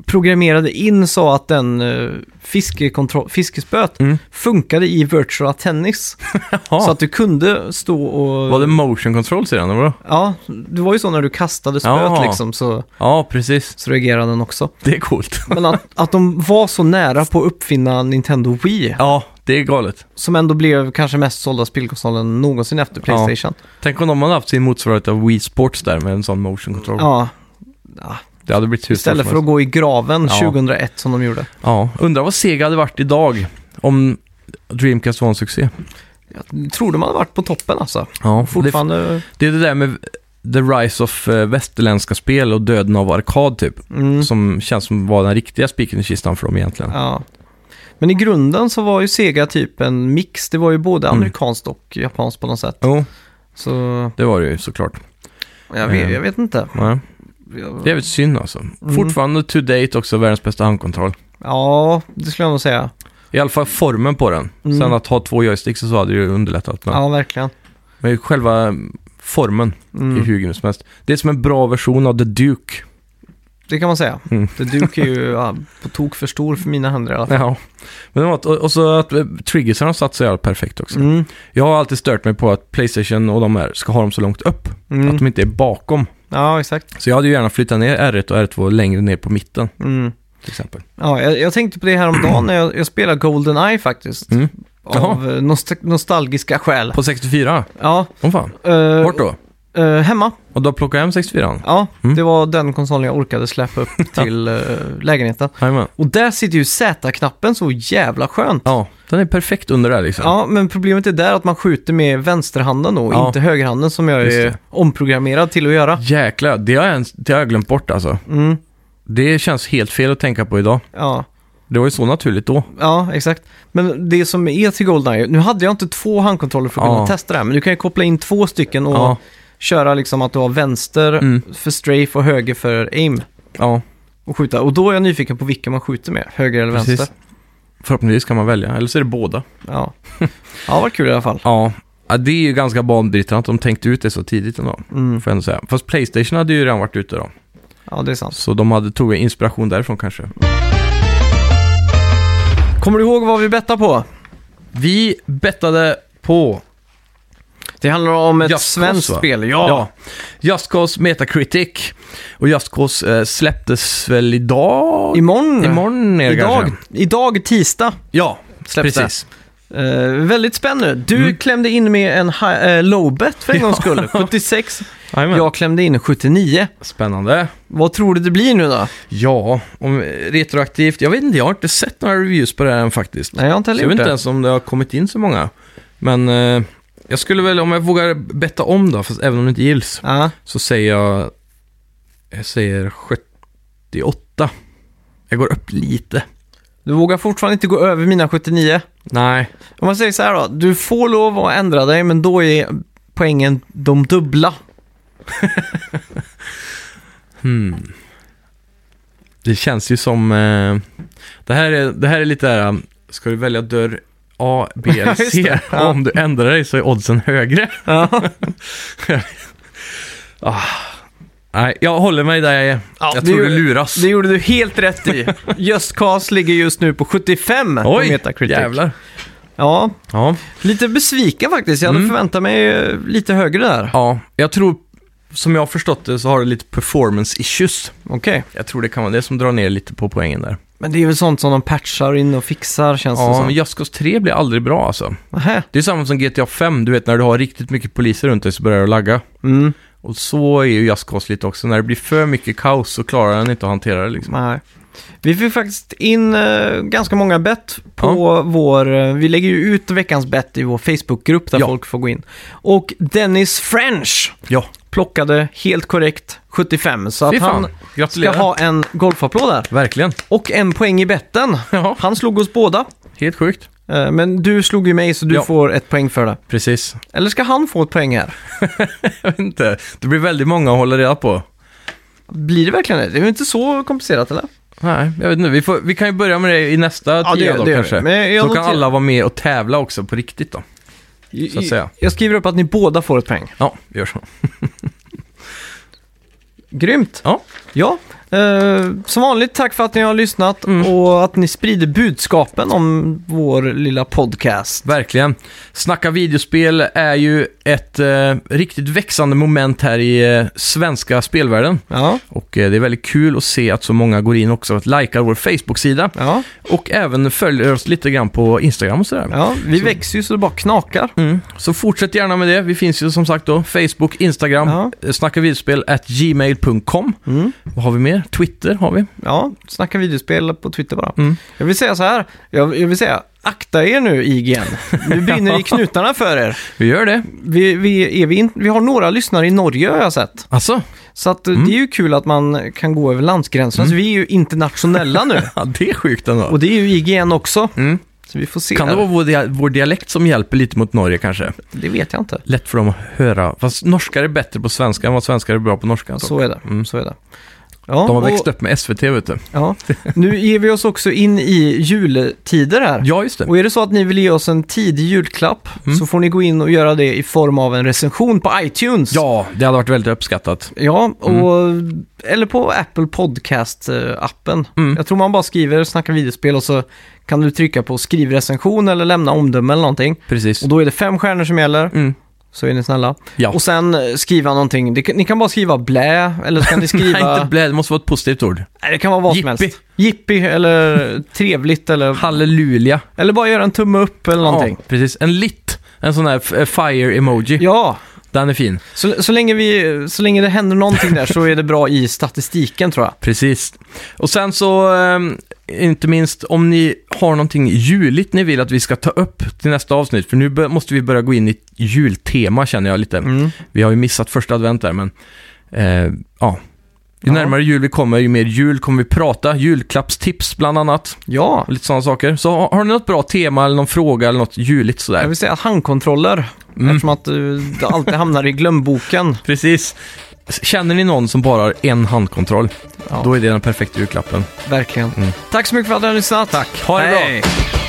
S1: programmerade in så att den eh, fiskekontroll- fiskespöt
S2: Mm.
S1: funkade i virtual tennis. Så
S2: Jaha,
S1: att du kunde stå och...
S2: var det motion controls i den? eller vadå?
S1: Ja, det var ju så när du kastade spöet
S2: Jaha.
S1: liksom så,
S2: Ja, precis.
S1: så reagerade den också.
S2: Det är coolt.
S1: Men att, att de var så nära på att uppfinna Nintendo Wii.
S2: Ja, det är galet.
S1: Som ändå blev kanske mest sålda spelkonsolen någonsin efter Playstation.
S2: Tänk om de hade haft sin motsvarighet av Wii Sports där med en sån motion control.
S1: Ja.
S2: Det hade blivit tusen
S1: Istället
S2: som
S1: för att
S2: helst.
S1: gå i graven
S2: Ja.
S1: 2001 som de gjorde.
S2: Ja, undrar vad Sega hade varit idag om Dreamcast var en succé.
S1: Jag trodde man hade varit på toppen alltså.
S2: Ja, det
S1: Fortfarande...
S2: Det är det där med the rise of eh, västerländska spel och döden av arkad typ.
S1: Mm,
S2: Som känns som var den riktiga spiken i kistan för dem egentligen.
S1: ja. Men i grunden så var ju Sega typ en mix. Det var ju både
S2: Mm.
S1: amerikanskt och japanskt på något sätt.
S2: Jo,
S1: Så
S2: det var det ju såklart.
S1: jag vet,
S2: Mm.
S1: jag vet inte.
S2: Ja. Det är
S1: Jag,
S2: väl synd alltså.
S1: Mm.
S2: Fortfarande to date också världens bästa handkontroll.
S1: ja, det skulle jag nog säga.
S2: I alla fall formen på den.
S1: Mm.
S2: Sen att ha två joysticks och så hade ju underlättat. Men,
S1: Ja, verkligen.
S2: men själva formen är
S1: Mm.
S2: hur grym som helst. Det är som en bra version av The Duke.
S1: Det kan man säga.
S2: Mm.
S1: The Duke är ju ja, på tok för stor för mina händer i alla fall.
S2: Ja. Men det var, att- och, och så att eh, triggersarna satt så jävla perfekt också.
S1: Mm.
S2: Jag har alltid stört mig på att Playstation och de här ska ha dem så långt upp. Att
S1: Mm.
S2: de inte är bakom.
S1: Ja, exakt.
S2: Så jag hade ju gärna flyttat ner R1 och R2 längre ner på mitten,
S1: Mm.
S2: till exempel.
S1: Ja, jag, jag tänkte på det här om dagen när jag, jag spelade GoldenEye faktiskt.
S2: Mm.
S1: Av eh, nostal- nostalgiska skäl.
S2: På 64?
S1: Ja.
S2: Åh fan.
S1: eh,
S2: Vart då?
S1: eh, hemma.
S2: Och då plockade jag hem 64?
S1: Ja,
S2: Mm.
S1: det var den konsolen jag orkade släppa upp till eh, lägenheten.
S2: Jajamän.
S1: Och där sitter ju Z-knappen så jävla skönt.
S2: Ja, den är perfekt under där liksom.
S1: Ja, men problemet är där att man skjuter med vänsterhanden då, och
S2: Ja.
S1: inte högerhanden som jag
S2: Just
S1: är
S2: det.
S1: omprogrammerad till att göra.
S2: Jäklar, det har, jag ens, det har jag glömt bort alltså.
S1: Mm.
S2: Det känns helt fel att tänka på idag.
S1: Ja.
S2: Det var ju så naturligt då.
S1: ja, exakt. Men det som är till GoldenEye, nu hade jag inte två handkontroller för att
S2: Ja.
S1: kunna testa det här, men du kan ju koppla in två stycken och
S2: Ja,
S1: köra liksom att du har vänster
S2: Mm.
S1: för strafe och höger för aim.
S2: ja.
S1: och skjuta. Och då är jag nyfiken på vilken man skjuter med, höger eller
S2: Precis.
S1: vänster.
S2: Förhoppningsvis kan man välja, eller så är det båda.
S1: Ja, ja vad kul i alla fall.
S2: Ja, ja, det är ju ganska banbrytande att de tänkte ut det så tidigt ändå.
S1: Mm.
S2: Får jag ändå säga. Fast Playstation hade ju redan varit ute då.
S1: Ja, det är sant.
S2: Så de hade, tog inspiration därifrån kanske.
S1: Kommer du ihåg vad vi bettade på?
S2: Vi bettade på
S1: Det handlar om ett
S2: Just
S1: svenskt
S2: Cause, va?
S1: spel, ja.
S2: Ja. Just Cause Metacritic. Och Just Cause eh, släpptes väl idag?
S1: Imorgon?
S2: Imorgon är det
S1: idag,
S2: kanske.
S1: idag tisdag.
S2: Ja,
S1: Släpps
S2: precis. Mm.
S1: Eh, väldigt spännande. Du klämde in med en hi- eh, low bet för en gångs skull. 76.
S2: Jajamän.
S1: Jag klämde in 79.
S2: Spännande.
S1: Vad tror du det blir nu då?
S2: Ja, om, retroaktivt. Jag vet inte, jag har inte sett några reviews på det här än faktiskt.
S1: Nej, jag har inte
S2: så
S1: heller
S2: jag vet
S1: gjort
S2: inte
S1: det.
S2: ens om det har kommit in så många. Men eh, jag skulle väl, om jag vågar betta om då, fast även om det inte gills,
S1: Ja,
S2: så säger jag... Jag säger 78. Jag går upp lite.
S1: du vågar fortfarande inte gå över mina 79.
S2: Nej,
S1: Om man säger så här då, du får lov att ändra dig men då är poängen de dubbla.
S2: Det känns ju som... Eh, det, här är, det här är lite där, um, ska du välja dörr A, B eller
S1: Just
S2: C?
S1: det, ja.
S2: Om du ändrar dig så är oddsen högre.
S1: Ja.
S2: ah. Nej, jag håller mig där jag är. jag
S1: det
S2: tror du
S1: gjorde-
S2: luras.
S1: Det gjorde du helt rätt i. Just Cause ligger just nu på 75 på
S2: Oj,
S1: Metacritic.
S2: jävlar.
S1: Ja,
S2: Ja.
S1: lite besviken faktiskt. Jag hade
S2: Mm.
S1: förväntat mig eh, lite högre där.
S2: ja, jag tror, som jag har förstått det så har det lite performance issues.
S1: Okej.
S2: Jag tror det kan vara det som drar ner lite på poängen där. Alltså,
S1: Men det är väl sånt som de patchar in och fixar känns det
S2: Ja, men
S1: som.
S2: Just Cause 3 blir aldrig bra alltså.
S1: Nähä.
S2: Det är samma som GTA 5, du vet när du har riktigt mycket poliser runt dig så börjar det lagga.
S1: Mm.
S2: Och så är ju Just Cause lite också. När det blir för mycket kaos så klarar den inte att hantera det liksom.
S1: Nej. Vi fick faktiskt in eh, ganska många bett på vår... eh, vi lägger ju ut veckans bett i vår Facebookgrupp där
S2: Ja.
S1: folk får gå in. Och Dennis French
S2: Ja,
S1: plockade helt korrekt 75. Så
S2: fy
S1: att
S2: fan.
S1: han ska
S2: Gratulerar.
S1: ha en golfapplåd där.
S2: Verkligen.
S1: Och en poäng i betten.
S2: Ja,
S1: Han slog oss båda.
S2: helt sjukt.
S1: Eh, men du slog ju mig så du
S2: Ja.
S1: får ett poäng för det.
S2: Precis.
S1: Eller ska han få ett poäng här?
S2: Jag vet inte. Det blir väldigt många att hålla reda på.
S1: Blir det verkligen det? Det är ju inte så komplicerat eller?
S2: Nej, jag vet inte. Vi, får, vi kan ju börja med det i nästa
S1: Ja, det
S2: tia
S1: gör-
S2: då
S1: det gör vi.
S2: kanske.
S1: Men jag
S2: så
S1: noterar-
S2: kan alla vara med och tävla också på riktigt då. Så att säga.
S1: Jag skriver upp att ni båda får ett poäng.
S2: Ja, vi gör så.
S1: Grymt!
S2: Ja,
S1: Ja, eh, som vanligt tack för att ni har lyssnat
S2: Mm.
S1: och att ni sprider budskapen om vår lilla podcast.
S2: verkligen. Snacka videospel är ju ett eh, riktigt växande moment här i eh, svenska spelvärlden.
S1: Ja,
S2: Och eh, det är väldigt kul att se att så många går in också och likar vår Facebook-sida.
S1: ja,
S2: Och även följer oss lite grann på Instagram och sådär.
S1: ja. vi växer ju så det bara knakar.
S2: Mm. Så fortsätt gärna med det. Vi finns ju som sagt då Facebook, Instagram,
S1: Ja.
S2: ja. snackavideospel at gmail.com.
S1: Mm.
S2: Vad har vi mer? Twitter har vi.
S1: Ja, snacka videospel på Twitter bara.
S2: Mm.
S1: Jag vill säga så här, jag, jag vill säga akta er nu IGN. Nu brinner det i knutarna för er.
S2: Vi gör det.
S1: Vi, vi, är vi, in, vi har några lyssnare i Norge har jag sett.
S2: Alltså,
S1: Så att, eh, det är ju kul att man kan gå över
S2: Mm.
S1: landsgränserna. Så vi är ju internationella nu.
S2: ja, det är sjukt ändå.
S1: Och det är ju IGN också.
S2: Mm.
S1: Så vi får se.
S2: Kan det
S1: här.
S2: vara vår, dia- vår dialekt som hjälper lite mot Norge kanske?
S1: det vet jag inte.
S2: Lätt för dem att höra. Fast norskar är bättre på svenska än vad svenskar är bra på norska.
S1: Så är det.
S2: Mm.
S1: Så är det. Ja,
S2: De har
S1: och-
S2: växt upp med SVT vet du.
S1: Ja. Nu ger vi oss också in i jultider här.
S2: Ja, just det.
S1: Och är det så att ni vill ge oss en tidig julklapp
S2: Mm.
S1: så får ni gå in och göra det i form av en recension på iTunes.
S2: Ja, Mm. det hade varit väldigt uppskattat.
S1: Ja, och, eller på Apple Podcast-appen.
S2: Mm.
S1: Jag tror man bara skriver “Snacka videospel” och så kan du trycka på “Skriv recension” eller lämna omdöme eller någonting.
S2: Precis.
S1: Och då är det fem stjärnor som gäller,
S2: Mm.
S1: så är ni snälla.
S2: Ja.
S1: Och sen eh, skriva någonting. Det, kan- ni kan bara skriva “blä” eller så kan ni skriva...
S2: Nej, inte blä. Det måste vara ett positivt ord.
S1: Nej, det kan vara vad som
S2: Jippi.
S1: helst. Jippi eller trevligt eller...
S2: Halleluja.
S1: Eller bara göra en tumme upp eller någonting.
S2: Ja, precis. En lit. En sån här f- eh, fire-emoji.
S1: Ja,
S2: Den är fin.
S1: så, så, länge vi, så länge det händer någonting där så är det bra i statistiken tror jag.
S2: Precis. Och sen så, ehm, inte minst, om ni har någonting juligt ni vill att vi ska ta upp till nästa avsnitt, för nu bör- måste vi börja gå in i ett jultema känner jag lite.
S1: Mm.
S2: Vi har ju missat första advent där, men eh, ja. Ju
S1: Ja.
S2: närmare jul vi kommer, ju mer jul kommer vi prata. Julklappstips bland annat
S1: Ja,
S2: och lite sådana saker. Så har, har ni något bra tema eller någon fråga eller något juligt sådär?
S1: jag Mm. vill säga handkontroller. Eftersom att eh, det alltid hamnar i glömboken.
S2: Precis. Känner ni någon som bara har en handkontroll,
S1: Ja.
S2: då är det den perfekta julklappen.
S1: Verkligen. Mm. Tack så mycket för att ni har lyssnat. Tack.
S2: Ha det bra.
S1: bra.